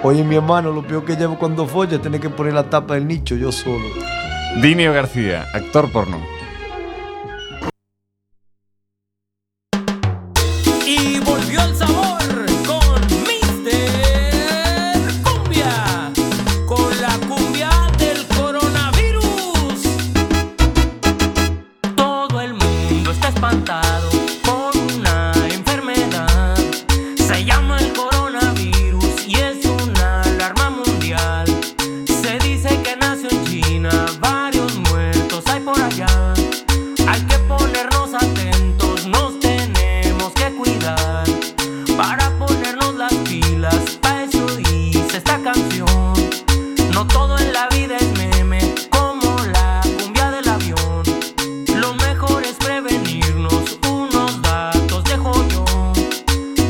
Oye, mi hermano, lo peor que llevo cuando folla tener que poner la tapa del nicho yo solo.
Dinio García, actor porno.
Y volvió el sabor con Mister Cumbia, con la cumbia del coronavirus. Todo el mundo está espantado por una enfermedad. Se llama el coronavirus y es una alarma mundial. Se dice que nació en China, varios muertos hay por allá. Hay que ponernos atentos, nos tenemos que cuidar para ponernos las pilas. Para eso hice esta canción. No todo en la vida es meme, como la cumbia del avión. Lo mejor es prevenirnos unos datos de yo.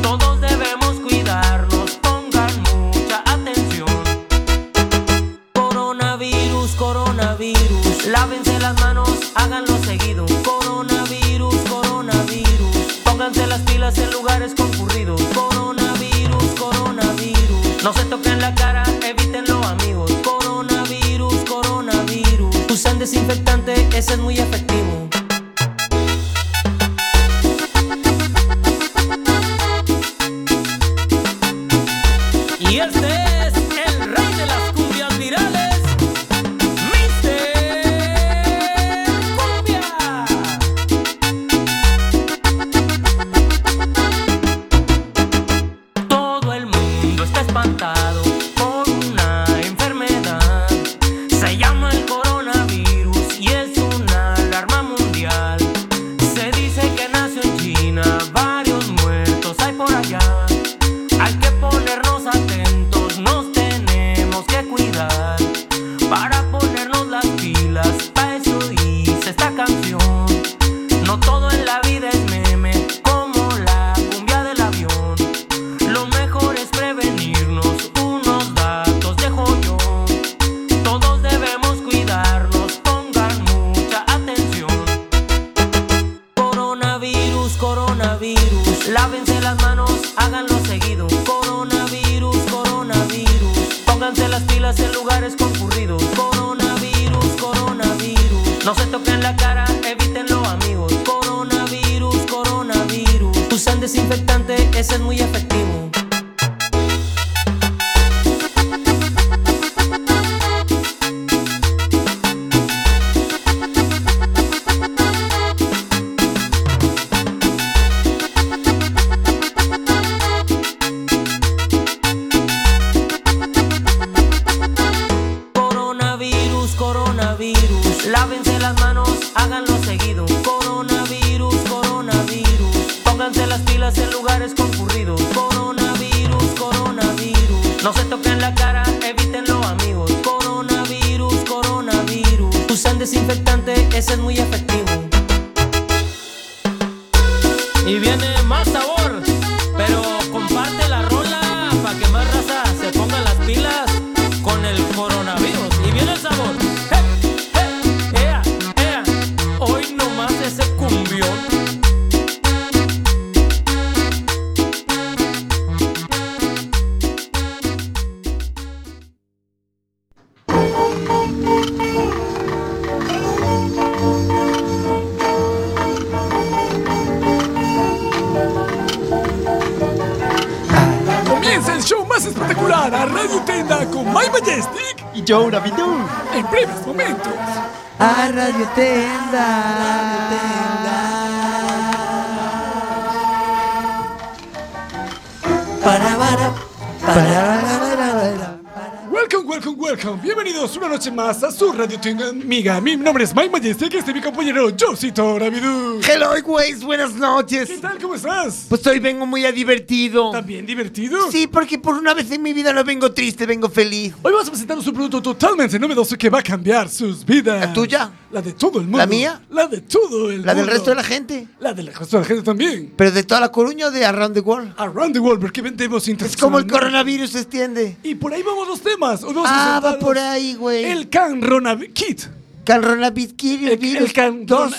Todos debemos cuidarnos, pongan mucha atención. Coronavirus, coronavirus, lávense las manos, háganlo seguido. Coronavirus, coronavirus, pónganse las pilas en lugares concurridos. Coronavirus, coronavirus, no se toquen la cara, evítenlo amigos. Coronavirus, coronavirus, usen desinfectante, ese es muy efectivo. Y este es el rey de las cumbias virales, Mister Cumbia. Todo el mundo está espantado por una enfermedad. Se llama el coronavirus y es una alarma mundial. Se dice que nació en China, varios muertos hay por allá. Hay que ponernos atentos, nos tenemos que cuidar para ponernos las pilas. Para eso hice esta canción. No todo en la vida es meme, como la cumbia del avión. Lo mejor es prevenirnos, unos datos dejo yo. Todos debemos cuidarnos, pongan mucha atención. Coronavirus, coronavirus, lávense las manos, háganlo seguido. Coronavirus, coronavirus, pónganse las pilas en lugares concurridos. Coronavirus, coronavirus, no se toquen la cara, evítenlo amigos. Coronavirus, coronavirus, usen desinfectante, ese es muy efectivo. Coronavirus, coronavirus, lávense las manos, háganlo seguido. Coronavirus, coronavirus, pónganse las pilas en lugares concurridos. Coronavirus, coronavirus, no se toquen la cara, evítenlo amigos. Coronavirus, coronavirus, usen desinfectante, ese es muy efectivo. Y viene más sabor, pero comparte la rola para que más raza se ponga las pilas con el coronavirus. Y viene el sabor. ¡Eh! ¡Eh! ¡Ea! ¡Ea! Hoy nomás ese cumbión.
Lenda con My Majestic y Joe Navidou en breves momentos.
A Radio Tenda. Para, para,
Welcome, welcome, welcome. Bienvenidos una noche más a su radio Tenga, amiga. Mi nombre es Mike Majestic y este es mi compañero Josito Rabidu.
Hello, güeyes, buenas noches. ¿Qué
tal? ¿Cómo estás?
Pues hoy vengo muy divertido.
¿También divertido?
Sí, porque por una vez en mi vida no vengo triste, vengo feliz.
Hoy vamos a presentarnos un producto totalmente novedoso que va a cambiar sus vidas. ¿La tuya? La de todo el mundo.
¿La mía?
La de todo el mundo.
La del resto de la gente.
La del resto de la gente también.
¿Pero de toda la Coruña o de Around the World?
Around the World, porque vendemos
Es como el coronavirus se extiende.
Y por ahí vamos los temas. Hoy vamos a
Ah, va
presentarnos
por ahí, güey.
El Canrona Kit.
Canrona Kit.
El, el can, dos,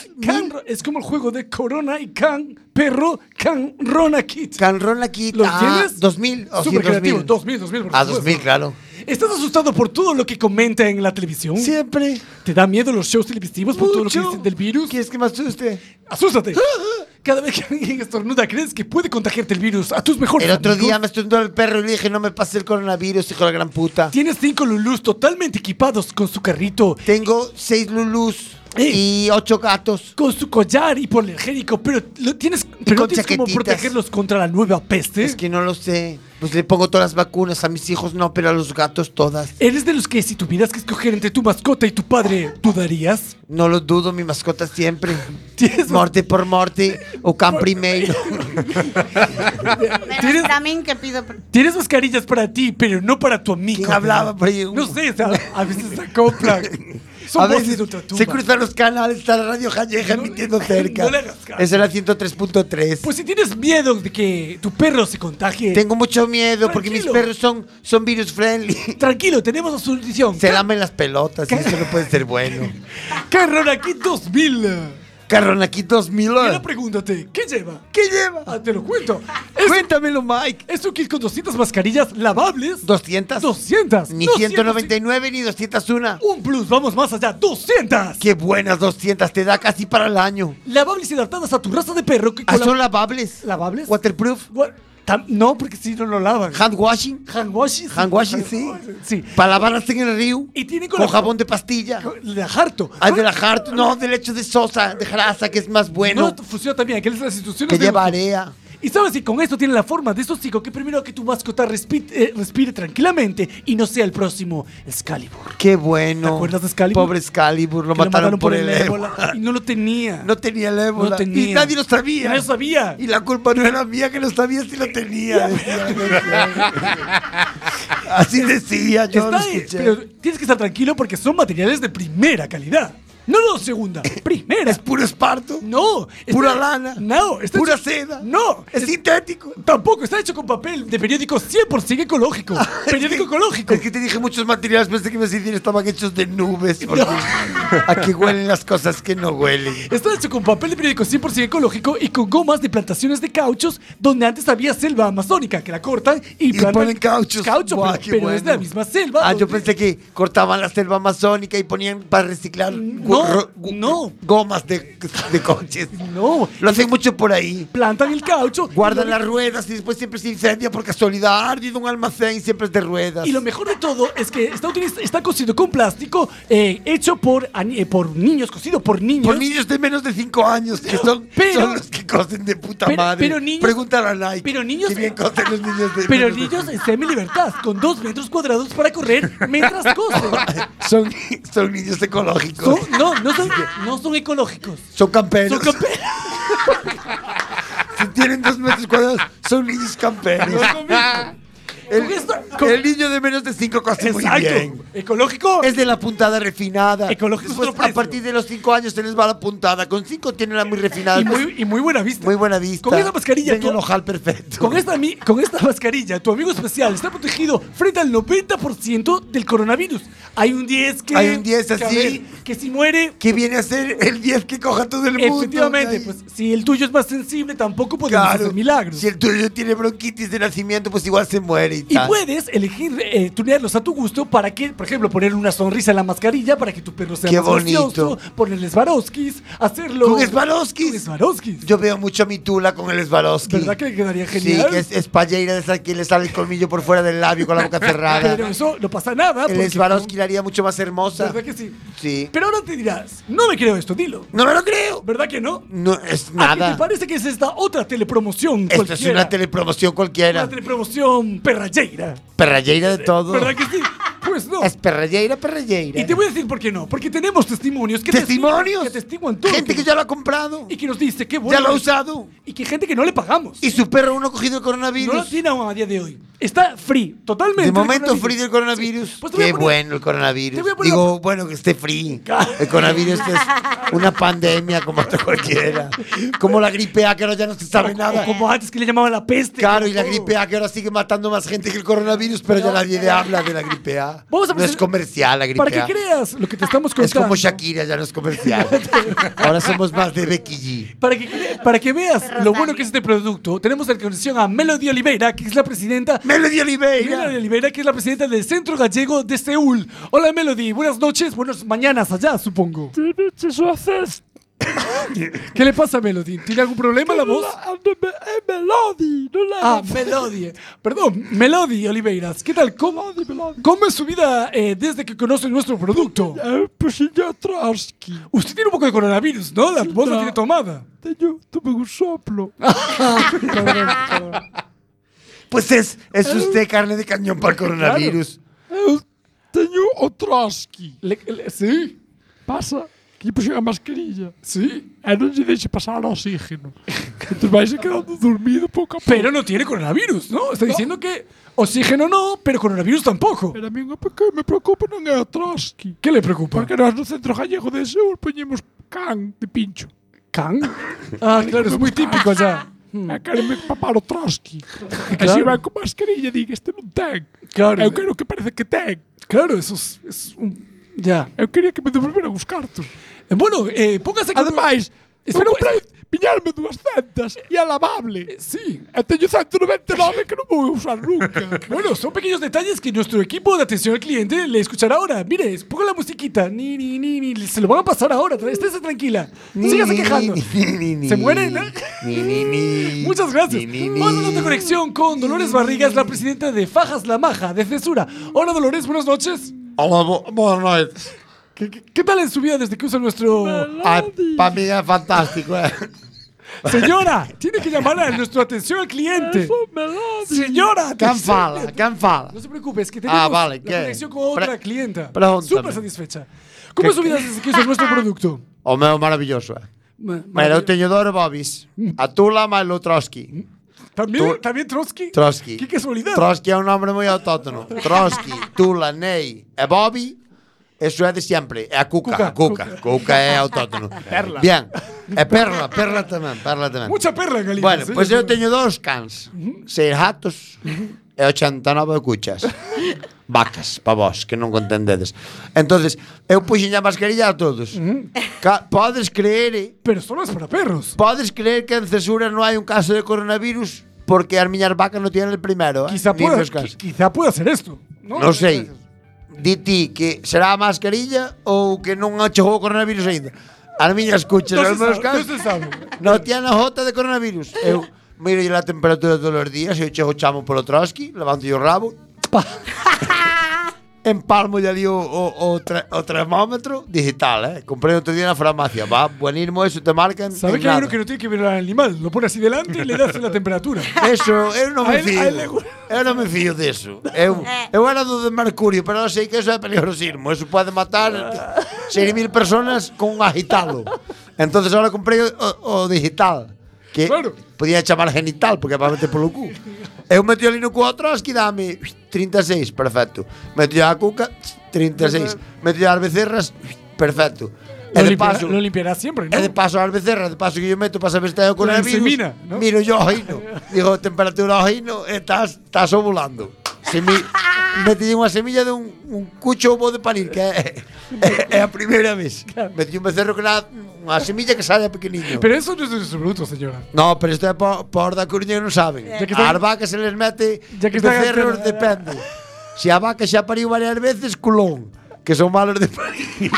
es como el juego de Corona y Can, perro, Canrona Kit.
Canrona Kit.
¿Los
ah,
tienes?
2000, o sí,
Súper creativo. 2000,
2000.
2000, por
Ah,
supuesto.
2000, claro.
¿Estás asustado por todo lo que comenta en la televisión?
Siempre.
¿Te da miedo los shows televisivos por todo lo que dicen del virus?
¿Quieres que me asuste? Ah,
¡Asústate! Cada vez que alguien estornuda, crees que puede contagiarte el virus a tus mejores
El otro
amigos?
día me estornudó el perro y le dije, no me pase el coronavirus, hijo de la gran puta.
Tienes cinco Lulus totalmente equipados con su carrito. Eh.
Tengo seis Lulus y ocho gatos.
Con su collar y hiperallergénico, pero lo tienes, pero no
con
tienes como
chaquetitas.
protegerlos contra la nueva peste.
Es que no lo sé. Pues le pongo todas las vacunas, a mis hijos no, pero a los gatos todas.
¿Eres de los que si tuvieras que escoger entre tu mascota y tu padre, dudarías?
No lo dudo, mi mascota siempre. Morte por morte, o can primero.
Pero también que pido
Tienes mascarillas para ti, pero no para tu amigo.
¿Quién hablaba por ahí?
No sé, a, a veces se acoplan. Son
a
voces
veces
de otra tumba.
se cruzan los canales, está la radio Jalleja emitiendo cerca.
no le hagas caso.
es el 103.3.
Pues si tienes miedo de que tu perro se contagie.
Tengo mucho miedo porque mis
Tranquilo.
perros son, son virus friendly.
Tranquilo, tenemos la solución.
Se lamen las pelotas y eso no puede ser bueno.
Carrón aquí 2000.
Carrón aquí 2000.
Y ahora pregúntate, ¿qué lleva? ¿Qué lleva? te lo cuento. Es-
Cuéntamelo, Mike.
Es un kit con 200 mascarillas lavables.
200.
200.
Ni
200.
199 ni 201.
Un plus, vamos más allá. 200.
Qué buenas 200, te da casi para el año.
Lavables y adaptadas a tu raza de perro. Que
Ah,
colab-
son lavables.
¿Lavables?
Waterproof.
Gua- tam- No, porque si no lo lavan.
Hand washing.
Hand washing. sí.
Hand washing, sí.
Sí.
Para lavarlas en el río.
Y tiene
Con jabón de pastilla.
de harto.
Ay, de la Hart. No, de lecho de sosa, de grasa, que es más bueno.
No, funciona también. Que es las instituciones
que
de-
lleva area.
Y sabes, y con esto tiene la forma de esos chicos que primero que tu mascota respi- eh, respire tranquilamente y no sea el próximo Excalibur.
Qué bueno.
¿Te acuerdas de Excalibur?
Pobre Excalibur, lo,
Que
mataron, por el ébola.
Y no lo tenía.
No tenía el ébola.
No tenía.
Y nadie lo sabía.
Nadie lo sabía.
Y la culpa no era mía que lo sabía si lo tenía. Así decía, yo
Está
lo
ahí,
escuché.
pero tienes que estar tranquilo porque son materiales de primera calidad. No, no, segunda. Primera.
Es puro esparto.
No. está-
Pura lana.
No. está
Pura
hecho-
seda.
No.
Es sintético.
Tampoco. Está hecho con papel de periódico 100% ecológico. periódico ecológico.
Es que te dije muchos materiales, pensé que me ibas a decir estaban hechos de nubes. porque Aquí huelen las cosas que no huelen.
Está hecho con papel de periódico 100% ecológico y con gomas de plantaciones de cauchos donde antes había selva amazónica que la cortan y,
Y
plantan
ponen cauchos.
Caucho,
Buah,
pero,
qué
pero es de la
bueno.
misma selva.
Ah, yo
donde-
pensé que cortaban la selva amazónica y ponían para reciclar
Mm, No,
gu- ro- gu-
no.
gomas de, de coches.
No,
Lo hacen mucho por ahí.
plantan el caucho. y
Guardan
lo-
las ruedas y después siempre se incendia por casualidad. Ha ardido un almacén y siempre es de ruedas.
Y lo mejor de todo es que está, utiliz- está cosido con plástico eh, hecho por, ani- eh, por niños, cosido por niños.
Por niños de menos de 5 años, que son,
Pero-
son los que cosen de puta
pero-
madre.
pero niños-
Pregúntale a Nike.
pero niños- eh,
qué bien cosen los niños de
pero
menos de
niños en semi-libertad, con dos metros cuadrados para correr mientras cosen.
son, son niños ecológicos.
Son- no, no son, no son ecológicos.
Son camperos.
Son camperos.
Si tienen dos metros cuadrados, son niños camperos. El,
Con esto- con-
el niño de menos de cinco casi muy bien.
Ecológico.
Es de la puntada refinada.
Ecológico es
Después,
otro
a
precio.
partir de los cinco años se les va la puntada. Con cinco tienen la muy refinada.
y, muy, y muy buena vista.
muy buena vista.
Con esa mascarilla
Ven
tú-
el ojal perfecto.
Con esta, mi- con esta mascarilla, tu amigo especial está protegido frente al 90% del coronavirus. Hay un 10 que.
Hay un 10
que a
así.
ver, que si muere,
Que viene a ser el 10 que coja todo el mundo.
efectivamente,
Ay,
pues si el tuyo es más sensible, tampoco podemos
claro.
hacer milagros.
Si el tuyo tiene bronquitis de nacimiento, pues igual se muere. Y
Y
favorita.
puedes elegir eh, tunearlos a tu gusto para que, por ejemplo, poner una sonrisa en la mascarilla para que tu perro sea
Qué
más
bonito.
gracioso, ponerle Swarovskis, hacerlo.
Con Swarovskis.
Con Swarovskis.
Yo veo mucho a mi tula con el Swarovski.
¿Verdad que le quedaría genial?
Sí, que es, es payeira de esa que le sale el colmillo por fuera del labio con la boca cerrada.
Pero eso no pasa nada. porque-
el Swarovski la haría mucho más hermosa.
¿Verdad que sí?
Sí.
Pero ahora te dirás, no me creo esto, dilo.
No me lo creo.
¿Verdad que no?
No es
¿A qué te
nada.
parece que es esta otra telepromoción
Esto
cualquiera?
es una telepromoción cualquiera.
Una telepromoción perralleira.
Perralleira de todo.
¿Verdad que sí? Pues no.
Es perralleira, perralleira.
Y te voy a decir por qué no. Porque tenemos testimonios. Que
¿Testimonios?
testi- Que testiguan todo.
Gente que ya lo ha comprado.
Y que nos dice qué bueno.
Ya lo ha usado.
Y que gente que no le pagamos.
Y su perro uno ha cogido el coronavirus.
No lo tiene aún a día de hoy. Está free, totalmente.
De
el
momento
coronavirus.
free del coronavirus.
Pues te voy a
Qué
poner-
bueno el
te
coronavirus.
voy a poner-
Digo, bueno que esté free. El coronavirus es una pandemia como otra cualquiera. Como la gripe A que ahora ya no se sabe nada.
como antes que le llamaban la peste.
Claro, y la gripe A que ahora sigue matando más gente que el coronavirus, pero ya nadie le habla de la gripe A.
Vamos a
no es
presentar-
comercial la gripe
Para que
A.
creas lo que te estamos
Es
contando.
como Shakira, ya no es comercial. ahora somos más de Becky G.
Para que, cre- para que veas lo bueno que es este producto, tenemos en conexión a Melody Oliveira, que es la presidenta.
¡Melody Oliveira!
Melody Oliveira, que es la presidenta del Centro Gallego de Seúl. Hola, Melody. Buenas noches, buenas mañanas allá, supongo. ¿Qué le pasa a Melody? ¿Tiene algún problema la voz? Melody, no la Ah, Melody. Perdón, Melody Oliveiras. ¿Qué tal? ¿Cómo, cómo es su vida eh, desde que conoce nuestro producto?
Pues ya atrás.
Usted tiene un poco de coronavirus, ¿no? La voz la tiene tomada.
Yo tuve un soplo.
Pues es,
Eh,
es usted carne de cañón para el coronavirus.
Eu teño o Trotsky.
Le, le, sí.
Pasa que puxen a mascarilla.
Sí.
E non lle deixe pasar oxígeno. Entón vais quedando dormido pouco a pouco.
Pero no tiene coronavirus, ¿no? Está diciendo que oxígeno no, pero coronavirus tampoco.
Pero a mí o que me preocupa non é o Trotsky.
¿Qué le preocupa?
Porque nós no centro gallego de Seúl poñemos can de pincho.
¿Can? Ah, claro, es muy típico ya.
E quereme papar o Trotsky. E se vai con mascarilla e digo, este non ten.
Claro.
Eu quero que parece que ten.
Claro, eso es, es un. Ya.
Eu quería que me devolveran os cartos.
Eh, Bueno, eh, póngase que.
Ademais,
Eh,
Es
eu
un-
comprei piñarme dúas centas e é lavable.
Eh,
Sí.
E teño 199 que non vou usar nunca.
Bueno, son pequeños detalles que nuestro equipo de atención al cliente le escuchará ahora. Mire, ponga la musiquita. Ni, ni, ni, ni. Se lo van a pasar ahora. tra- Estése tranquila. Sígase quejando. Se mueren, ¿eh? Muchas gracias. Vamos a nuestra conexión con Dolores Barrigas, la presidenta de Fajas La Maja, de Censura. Hola, Dolores, buenas noches.
Hola, bo- boa noite.
¿Qué, qué, qué tal es su vida desde que usa nuestro.
Para Ah, mí é fantástico, eh.
Señora, tiene que llamar a nuestra atención al cliente. Señora,
Quen
atención.
fala, quen fala.
No se preocupe, es que tenemos
Ah, vale,
la
¿qué?
conexión con otra
Pre-
clienta.
pregúntame.
Súper satisfecha. ¿Cómo es su vida desde que usa nuestro producto?
O meu maravilloso, eh.
Ma-
Mira, eu teño dor Bobis. A Tula, máis o Trotsky.
¿También,
tú-
¿También Trotsky?
Trotsky.
¡Qué casualidad!
Trotsky é un nome moi autóctono. Trotsky, Tula, Ney e Bobby Eso é de sempre. É a Cuca, Cuca, Cuca, Cuca é autóctono. Perla. Bien. E Perla, Perla tamén, Perla tamén.
Mucha perla, Galicia.
Bueno, pois eu teño dous cans. Seis gatos e 89 cuchas. Vacas, pa vos, que non contendedes. entonces eu puxen a mascarilla a todos. Ca- Podes creer, eh,
Pero solo es para perros.
Podes creer que en censura non hai un caso de coronavirus porque as miñas vacas non tienen el primero, eh?
Quizá
Nin
pueda,
os cans.
qui- quizá pueda hacer esto. No,
Non sei. Di ti que será a mascarilla ou que non chegou o coronavirus aínda. As miñas cuchas,
No se
os meus
sabe,
cans,
no se sabe.
non tienen a jota de coronavirus. Eu miro a temperatura todos os días, eu chego chamo polo Trotsky, levanto o rabo, pa. Empalmo ali o, o, o, tre- o termómetro digital, eh? Comprei outro día na farmacia. Va, buenismo, eso te marcan.
¿Sabe
en
que hay
nada.
uno que no tiene que ver al animal? Lo pone así delante y le das la temperatura.
Eso, eu non
A
me
él-
fío.
a él le gu-
Eu non me fío deso. Eu, eu era do de Mercurio, pero eu sei que eso é peligrosismo. Eso pode matar
Ah.
6.000 personas con un agitalo. Entonces ahora comprei o, o digital. Que
Claro.
podía chamar genital, porque é para meter polo cu. Eu metí ali no cu ao Trotsky, dame 36, perfecto. Metí a cuca, e 36. Metí as becerras, perfecto.
Lo,
E de
limpia-
paso,
lo limpiará siempre, ¿no?
E de paso ás becerras, de paso que yo meto para saber se teño
La
coronavirus.
insemina, ¿no?
Miro yo ao hino. Digo, temperatura ao hino, e eh, estás, estás ovulando. Semi metille unha semilla de un, un cucho ovo de parir, que é, é, é a primeira vez. Claro. Metille un becerro que nada, unha semilla que sale a pequeniño.
Pero eso no es de sus brutos, señora.
No, pero isto é por, por da Coruña que non saben.
Ya que
a
están-
vaca se les mete
Ya que están
becerros
a-
depende. Se a vaca xa pariu varias veces, culón. Que son malos de parir.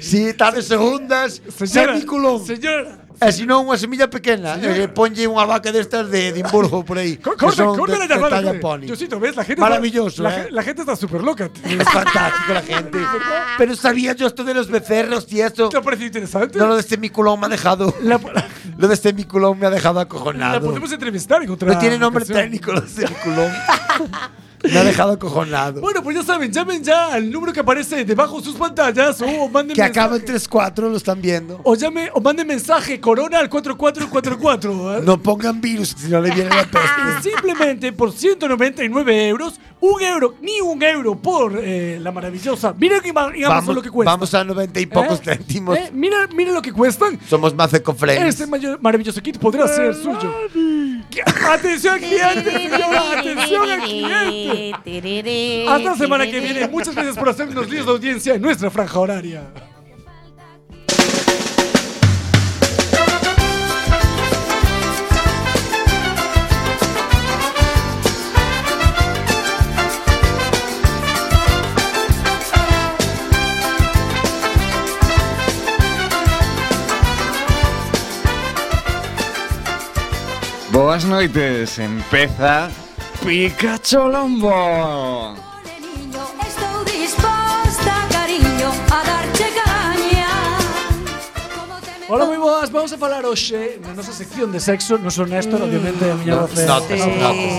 si están en segundas,
Señora,
semiculón.
Señora.
E se non, unha semilla pequena. Eh, ponlle unha vaca destas de Edimburgo por aí. que
Corta,
son
corta la
de- de
llamada.
talla
hombre.
pony.
Diosito, ¿ves? La gente
Maravilloso,
está, la
eh.
gen- La, gente está súper loca.
Es fantástico la gente. Pero sabía yo esto de los becerros y eso. ¿Te
ha parecido interesante?
No, lo de semiculón me ha dejado. lo de semiculón me ha dejado
La
acojonado.
podemos entrevistar en otra
No tiene nombre
ocasión.
técnico, lo de semiculón. me ha dejado acojonado.
Bueno, pues ya saben, llamen ya al número que aparece debajo de sus pantallas o manden
Que
mensaje.
acaba en 3-4, lo están viendo.
O llame o manden mensaje corona al 4444.
No pongan virus si no le viene la peste.
¿eh? Simplemente por 199 euros, un euro, ni un euro por eh, la maravillosa. Miren que ima- digamos
Vamos,
lo que cuesta.
vamos a 90 y pocos
¿Eh?
céntimos.
¿Eh? Mira, mira lo que cuestan.
Somos más ecofriendly.
Este mayor- maravilloso kit podrá
Eh,
ser suyo. ¿Qué? Atención al cliente, señora. Atención al cliente. Hasta la semana que viene. Muchas gracias por hacernos líos de audiencia en nuestra franja horaria.
Boas noites, empeza Pikachu Lombo.
Estou disposta, cariño, a darche caña
Hola, moi boas, vamos a falar hoxe na nosa sección de sexo, non son
Mm.
Néstor, obviamente, a miña voz é...
notas, notas.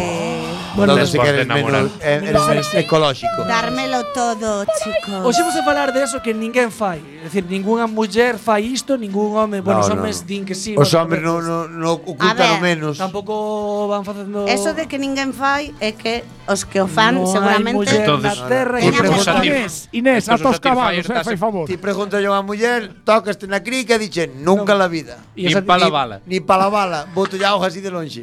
Bueno,
Notas que
despois
eres
de enamorar.
menos, eh, eres
No,
menos
sí.
ecológico.
Dármelo todo, chicos.
Hoxe vamos a falar de eso que ninguén fai. É dicir, ningunha muller fai isto, ningún home... Bueno, os
No, no,
homes
no.
din que sí.
Os
bueno,
hombres no, no, no ocultan o menos.
Tampouco van facendo...
Eso de que ninguén fai é que os que o fan
No hai
seguramente
muller na terra que faga
Inés, Inés, ata os cabalos, eh, fai favor.
Ti pregunta yo a muller, tocaste na crica e dixe, nunca na la vida.
Ni esa- pa la bala.
Ni, ni pa la bala, boto ya hoja así de lonxe.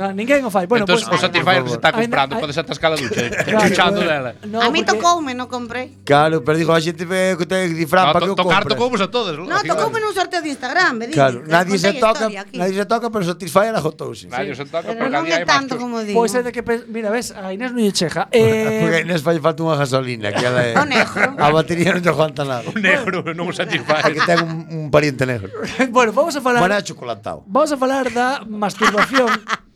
no, ninguén o
Eh,
fai. Bueno,
Entón,
pois-
o Satisfyer
Por
se
favor.
está comprando,
Ainda-
podes atascar a ducha,
Claro,
chuchando
bueno.
dela.
No,
a mí
porque-
tocoume, non comprei.
Claro, pero digo, a xente ve que ten
No,
disfraz para
to-
que o
tocar
compras.
tocou vos a todos,
No, tocoume nun sorteo de Instagram, me dixen.
Claro, nadie se
Contei a
toca,
historia aquí.
nadie se toca, pero Satisfyer agotouse.
Nadie se toca,
Pero non é tanto como digo.
Pois é de que... pe- Mira, ves, a Inés non lle cheja. Eh,
Porque Inés fai falta unha gasolina, que ela é... a batería non te aguanta nada.
Un negro, non un
Hai que
Satisfyer.
ten un, un pariente negro.
bueno, vamos a falar...
Buena chocolatao.
Vamos a falar da masturbación.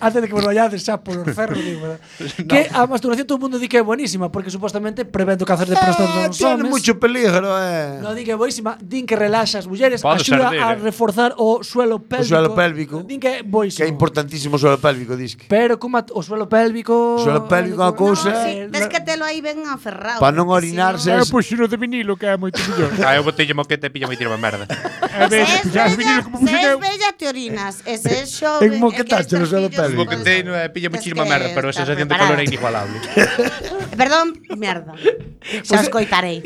Antes de que vos vayades xa por os ferros, digo, ¿verdad? Que a masturbación todo o mundo di que é buenísima, porque supostamente prevén o cáncer de próstata nos
Ah, Tiene
homes.
mucho peligro, eh.
No di que é buenísima, din que relaxa as mulleres,
Pode
axuda
ser,
a
dire.
reforzar o suelo
O
pélvico.
suelo pélvico.
Din que é boísimo.
Que é importantísimo o suelo pélvico, dis que.
Pero como a- o suelo pélvico... eh,
O suelo pélvico é unha cousa
Sí, ves que telo aí ben aferrado.
para non orinarse.
É
É
o puxino de vinilo que é moito mellor.
Ah, eu botelle moquete e pilla moi tirma merda.
É bello, puxar os vinilos como
Se
puxen
és
eu.
bella, te orinas.
Eh,
E se és xove...
moquetaste no suelo pélvico.
Moquete non é pilla moi tirma
que
merda, pero a
estar
sensación de
preparado.
calor é inigualable.
Perdón, merda.
Pues
Xa os coitarei.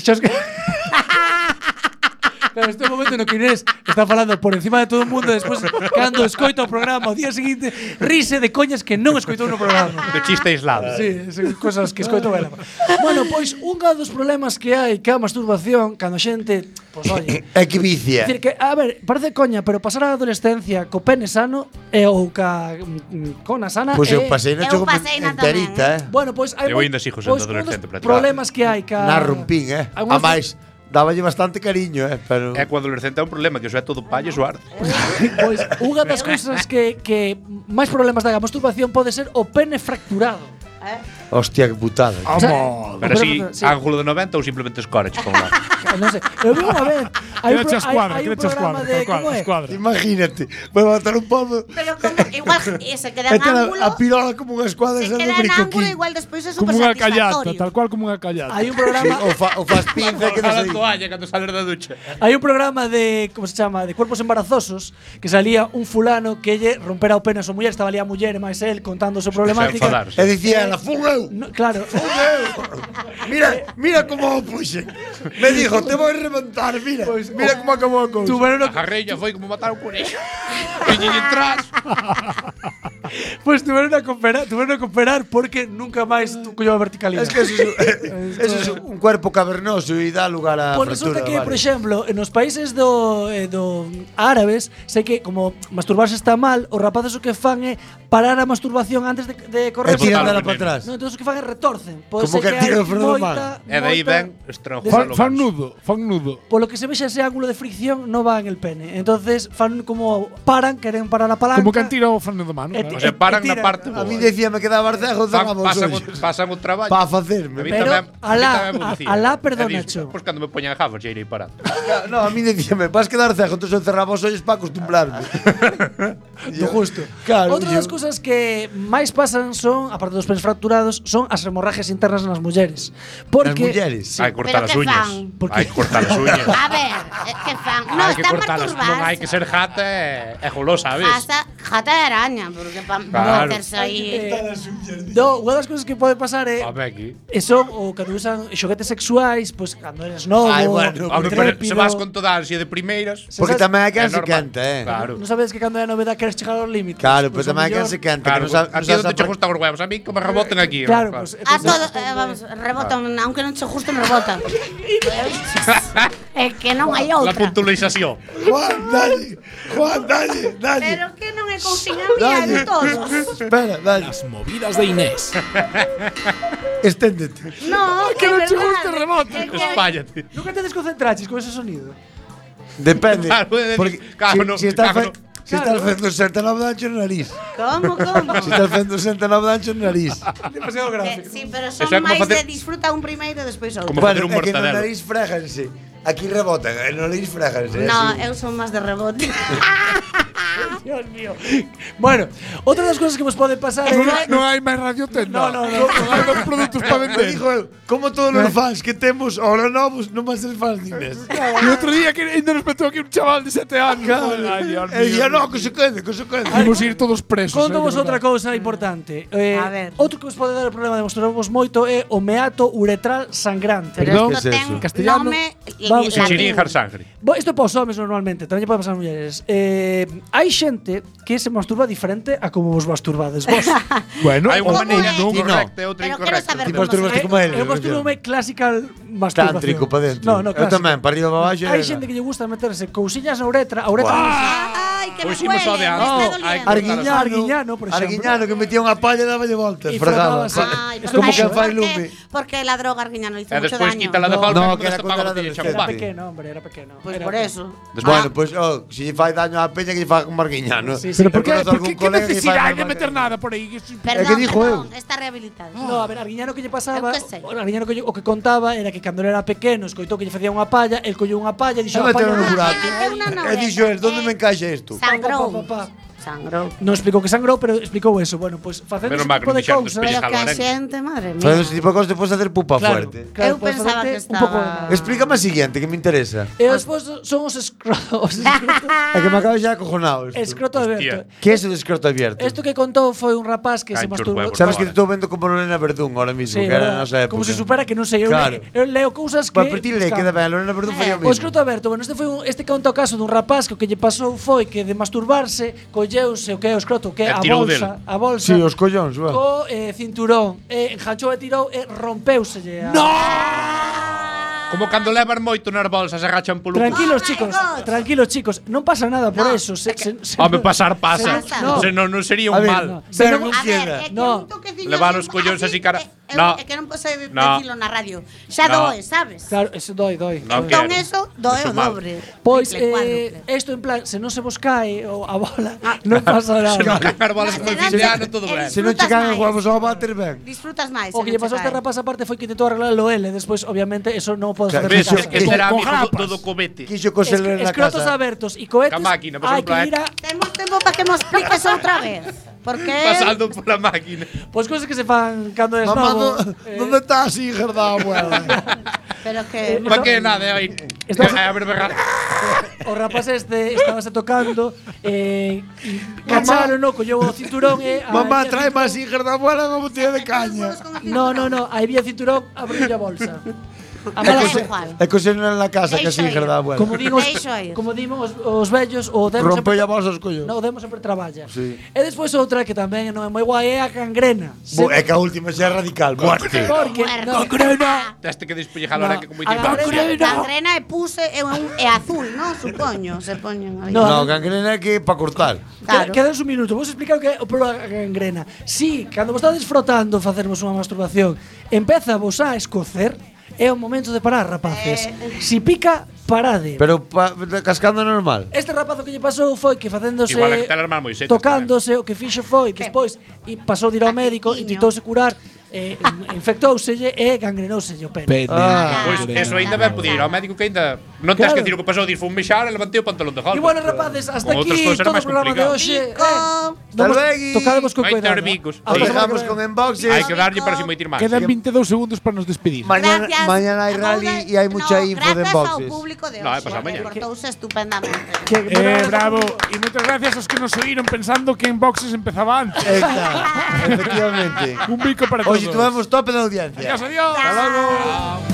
Claro, este é o momento no que Inés está falando por encima de todo o mundo e despois cando escoita o programa o día seguinte rise de coñas que non escoitou no programa.
Do chiste aislado.
Sí, sí, cosas que escoito ela. Bueno, pois unha dos problemas que hai ca masturbación cando a xente, pois oye,
É que vicia.
Dicir que, a ver, parece coña, pero pasar a adolescencia co pene sano e ou ca mm, mm, cona sana
Pois
é-
eu pasei na choco enterita, eh.
Bueno, pois hai
Eu
moi-
ainda sigo
pois
sendo
un dos
adolescente prácticamente.
problemas que hai ca
Na rompín, eh.
Algún-
A máis, dáballe bastante cariño, eh, pero
É que o adolescente é un problema, que o é todo palle e o arde.
Pois unha das cousas que, que máis problemas da masturbación pode ser o pene fracturado.
hostia, que putada.
O sea, Vamos.
Pero así,
Pero, sí.
ángulo de 90 ou simplemente escórech con lá.
Non sei, eu vi unha vez, hai un,
Quédate
pro,
as
hai,
cuadras,
hai un
quédate as
programa
cuadras,
de
tal cual,
como é?
as cuadras.
Imagínate, vou matar un pobo.
Pero como, igual eh, se queda en
Este
Esta era
ángulo...
a pirola como unha escuadra
Se
esa do
queda en
brico
ángulo,
aquí.
igual despois é
Como
super
unha callata,
satisfactorio.
tal cual como unha callata.
Hai un programa,
O, fa, o fas pinza que
Ojalá
das aí.
a toalla cando sales da ducha.
hai un programa de como se chama, de cuerpos embarazosos, que salía un fulano que lle rompera o pene a súa muller, estaba ali a muller e máis el contando a súa problemática.
enfadarse.
E dicía ela, fun eu.
No, claro. Eh,
Mira, mira como o puxen. Me dijo, te voy a reventar, mira.
Pues,
mira
oh,
como acabou a cousa.
Tuveron
A jarreña foi como matar un conexo. Viñe atrás.
Pues tuvieron a cooperar, tuvieron a cooperar porque nunca máis tu collou a verticalidade.
Es que eso es, eso es un cuerpo cavernoso y da lugar a
Por
fractura.
Pues resulta que,
vale.
por exemplo, nos países do, eh, do árabes, sei que como masturbarse está mal, os rapaces o que fan é parar a masturbación antes de, de correr.
E tirándola para atrás.
No, entón, os que fan é retorcen. Pode
Como
ser
que
hai
tiro
moita-
Frodo Man.
E de aí
moita-
ven
Fan,
estrangular
fan nudo, fan nudo.
Polo que se vexe ese ángulo de fricción no va en el pene. Entonces fan como paran, queren parar a palanca.
Como que han tirado o freno de mano.
E
claro.
ti-
O sea, paran pues. na parte
A
boa.
mí
pues.
decía me quedaba arcejo,
Fan-
zangamos
pasan,
hoxe.
o, pasan o traballo.
Pa facerme.
A mí
Pero
tamén, a mí
alá-
tamén me
a-
dicía.
alá
E
perdona,
dis, Pois cando me poñan gafas, xa irei parando.
No, a mí decíame, vas a quedar cejo, entonces eu cerraba os ollos para acostumbrarme.
Do justo.
Claro,
Outra das cousas que máis pasan son, aparte dos pens fracturados, son as hemorragias internas nas mulleres. Porque
mulleres?
Hai que cortar
Pero
as
que
uñas.
fan? Ah,
Hai que cortar as uñas.
A ver, eh, es que fan.
Ah,
No,
hai que
está
cortalas, non hai
perturbada.
que ser jata e, e golosa, sabes?
Hasta jata de araña, porque para
Claro.
meterse ahí.
do, unha das cousas que pode pasar é
A ver aquí.
E son o cando usan xoguetes sexuais, pois cando eres novo,
Ai, bueno,
hombre,
hombre, pero se vas con toda a ansia de primeiras.
Porque
sabes-
tamén hai quen
É
se
normal.
canta, eh.
Claro.
Non sabes que cando é novedade queres chegar aos límites. pois
Claro, pero
o
tamén hai quen
mellor-
se canta, que
Claro, pues,
non sabe-
a
non
ti
sabes
onde te
apro-
gustan os huevos, a mí que me reboten aquí.
Claro,
claro.
pues,
A todo, eh, vamos, rebotan, aunque non se guste, me rebotan. é que non hai
La
outra.
puntualización.
Juan, dale, Juan, dale, dale.
Pero que non é confinamía de todos.
Espera, dale.
Las movidas de Inés.
Esténdete.
No,
que
é
non che
verdade,
guste rebote.
é que-
Espállate.
Nunca te desconcentraches con ese sonido.
Depende.
Claro, de-
Porque
claro,
si,
no,
si estás
claro,
fe- si estás
Claro.
facendo 69 de ancho no nariz.
Como, como?
Si estás facendo 69 de ancho no nariz.
Demasiado
Eh,
gráfico.
Sí, pero
Eso é
son
como
máis de
facer-
disfruta un primeiro e despois outro.
Como facer un
é que no
mortadelo.
nariz fréjanse. Aquí rebotan, eh, no nariz fréjanse.
No,
así.
eu son máis de rebote.
Dios mío. Bueno, outra das cousas que vos pode pasar é
Non hai- non hai máis radiotenda.
No, no, no.
Non hai máis produtos para
Me
vender. Eh.
dijo eu, como todos los fans que temos ahora
pues,
novos, non van ser fans de Inés.
E outro día que ainda nos meteu aquí un chaval de 7 anos. Ai, Dios
Eh,
E día,
mío.
no, que se quede, que se quede.
Imos ir todos presos.
Conto vos
eh, de
outra
verdad.
cousa importante. Eh,
A ver.
Outro que vos pode dar o problema de mostrarvos moito é o meato uretral sangrante.
Pero
Perdón,
isto
¿qué es
ten
eso?
Castellano.
nome
Vamos,
Se
latín.
chiringar sangre.
Bo, isto é para os homens normalmente, tamén lle pode pasar a mulleres. Eh, hai xente que se masturba diferente a como vos masturbades vos.
Bueno,
Hai unha
o-
maneira
é?
correcta e outra
Pero quero
incorrecta.
saber
Ti
como
masturbaste
se...
como
Eu
ele.
masturbo classical masturbación.
Tántrico para dentro.
No, no,
eu
clásica.
tamén, para arriba para baixo.
Hai xente que lle gusta meterse cousiñas na uretra, a uretra. ¡Ah!
Ai, que me
Pois imos ao
huele,
de
me está
antes. Ai,
doliendo.
cortar as
Arguiñano,
Arguiñano, por exemplo.
Arguiñano que metía unha palla e daballe voltas,
E
fregaba.
fregábase.
Ay,
Es
porque-
como que
porque-
fai lume.
Porque la droga arguiñano hizo
E
mucho
despois
daño.
quita la de
No,
golpe
no,
e
que
comes
era cuando
pago
era
de
Era
adolescente.
champán.
pequeno, hombre, era pequeno.
Pues
Era
por
pequeno.
eso.
Bueno, pois, pues, oh, se lle fai daño á peña que lle faga como Arguiñano.
Sí, sí.
Pero
Eu
por qué,
conozco
por
algún
qué, qué
colega que lle fai
necesidad de
daño a
meter
Arguiñano.
nada por ahí? Que es-
Perdón,
que dijo
perdón, está rehabilitado.
No, a ver, Arguiñano que lle pasaba,
Eu que sei.
Arguiñano que lle- o que contaba era que cando ele era pequeno, escoitou que lle facía unha palla, el colleu unha palla e dixo,
Xa
"A
meteu
palla
no
non".
burato.
meteu
E
na Ah, novela.
dixo, el, onde me encaixa isto?
Sangrou.
Pa, pa, pa, pa.
Sangrou.
Non explicou que sangrou, pero explicou eso. Bueno, pois pues, facendo
Menos
ese
mal que
tipo
non
de
dixeron
cousas,
despellejar.
Pero
Está
que a
Lorenzo.
xente, madre mía.
Fazendo ese tipo de cosas, te podes hacer pupa
claro,
fuerte.
claro,
Eu
podes
pensaba
facerte
que
pues, un pouco de
estaba-
mal.
Explícame a siguiente, que me interesa.
E os vos son os escroto, os escroto,
É que me acabo xa acojonado. isto.
escroto abierto.
Que é eso de escroto abierto?
Isto que contou foi un rapaz que se
Canchos
masturbou.
huevos,
Sabes
Por favor.
que te estou vendo como Lorena Verdún ahora mismo,
Sí,
que
verdad.
era a nosa época.
Como se supera que non sei, eu,
Claro.
le, eu leo cousas que
Pa partir le queda ben, a Lorena Verdún faría o
O
mismo.
escroto aberto, bueno, este foi un, este conta o caso dun rapaz que o que lle pasou foi que de masturbarse colleuse o que é o escroto, o que
E
é a
tirou
bolsa,
del.
a bolsa.
Sí, os collóns, va.
co eh, cinturón, eh, enganchou e tirou e rompeuselle. a-
Como cando levan moito nas bolsas e agachan polo cu.
Tranquilos,
Oh my
chicos.
God.
Tranquilos, chicos. Non pasa nada por
No,
eso. Se, se, se-
Home, pasar pasa.
Pasa.
No.
Se non, non sería un
A ver,
mal.
no.
Pero
Pero-
non
A ver,
queda.
é que
No.
un toquecillo
Levar
así,
os collóns así
así,
cara-
eh, eu-
No.
É que non posso de-
No.
decirlo na radio. Xa
No.
doe, Pues, sabes?
Claro, eso doi, doi.
Non
doi.
quero.
Entón eso doe
Eso
o
mal.
dobre.
Pois,
triple,
eh,
cuádruple. Ah.
esto en plan, se non se vos cae o a bola, non pasa
As
nada.
bolas
Nas
con fin de
terrazas,
ano, todo ben.
eh,
Se non
Frutas
chegan
máis.
huevos ao váter, ben.
Disfrutas máis.
O que lle pasou a este rapaz aparte foi que tentou arreglarlo ele, despois obviamente eso non o podes
Claro,
facer
Ves,
na
es
casa.
que será
Con- con
amigo do,
grapas.
do cobete.
Quixo coser
Escro-
na
escrotos
casa.
abertos e cohetes.
Ca máquina, por
hai
exemplo,
que
eh.
ir a
Temos tempo para que nos expliques outra vez. Porque
Pasando pola máquina.
pois cousas Pues que se fan cando es
Mamá,
novo.
do-
eh,
¿dónde estás, hija da abuela?
pero que
Pa que nada, aí.
Estás-
A ver, verga.
o rapaz este estabase tocando eh cacharon, no, colleu o cinturón e a-
Mamá, trae máis hija da abuela unha botella de caña.
No, no, no, aí vía cinturón, abriu a bolsa.
É que se- É que se non na casa, que
Deixa
así
ir.
da abuela.
Como digo, como digo os, os vellos, o demo
Rompelle a voz aos collos.
No, o demo sempre traballa.
Sí.
E despois outra que tamén non é moi guai é a cangrena.
Bo, é que a última xa é radical. Muerte.
Porque no,
Concrena. Teste que despellejar ahora que como
A
dicen.
gangrena, gangrena é puse é, un, é azul, non? Supoño, se poñen ali.
No, no gangrena é que para cortar.
Claro. Quedas un minuto, vos explicar o que é o problema da gangrena. Si, cando vos estades frotando facermos unha masturbación, empeza vos a escocer, é o momento de parar, rapaces. Si pica, parade.
Pero pa, cascando normal.
Este rapazo que lle pasou foi que facéndose
Igual é que tal armar Moisés.
tocándose, o que fixo foi despois e pasou de ir ao médico e tentouse curar, eh, infectouselle e gangrenouselle o pene.
Ah, pois eso ainda ben poder ir ao médico que ainda non tes que decir o que pasou, dir fun mexar e levantei o pantalón de
E
holpa.
bueno, rapaces, hasta aquí todo o programa de hoxe. Eh,
Hasta
Vamos,
luego.
tocademos con cuidado.
Hay bicos.
Ah,
Hasta la semana que
con enboxes.
Hay que darlle para si moitir máis.
Quedan 22 segundos para nos despedir.
Mañana, mañana hai rally e hai mucha info de boxes.
público de
No, é
hoxe,
pasado
que
mañá.
portouse estupendamente.
Eh, bravo. Y muchas gracias a los que nos oyeron pensando que en boxes empezaba antes.
Efectivamente.
Un bico para todos.
Hoxe tuvemos tope de audiencia.
Adiós, adiós. Hasta
luego.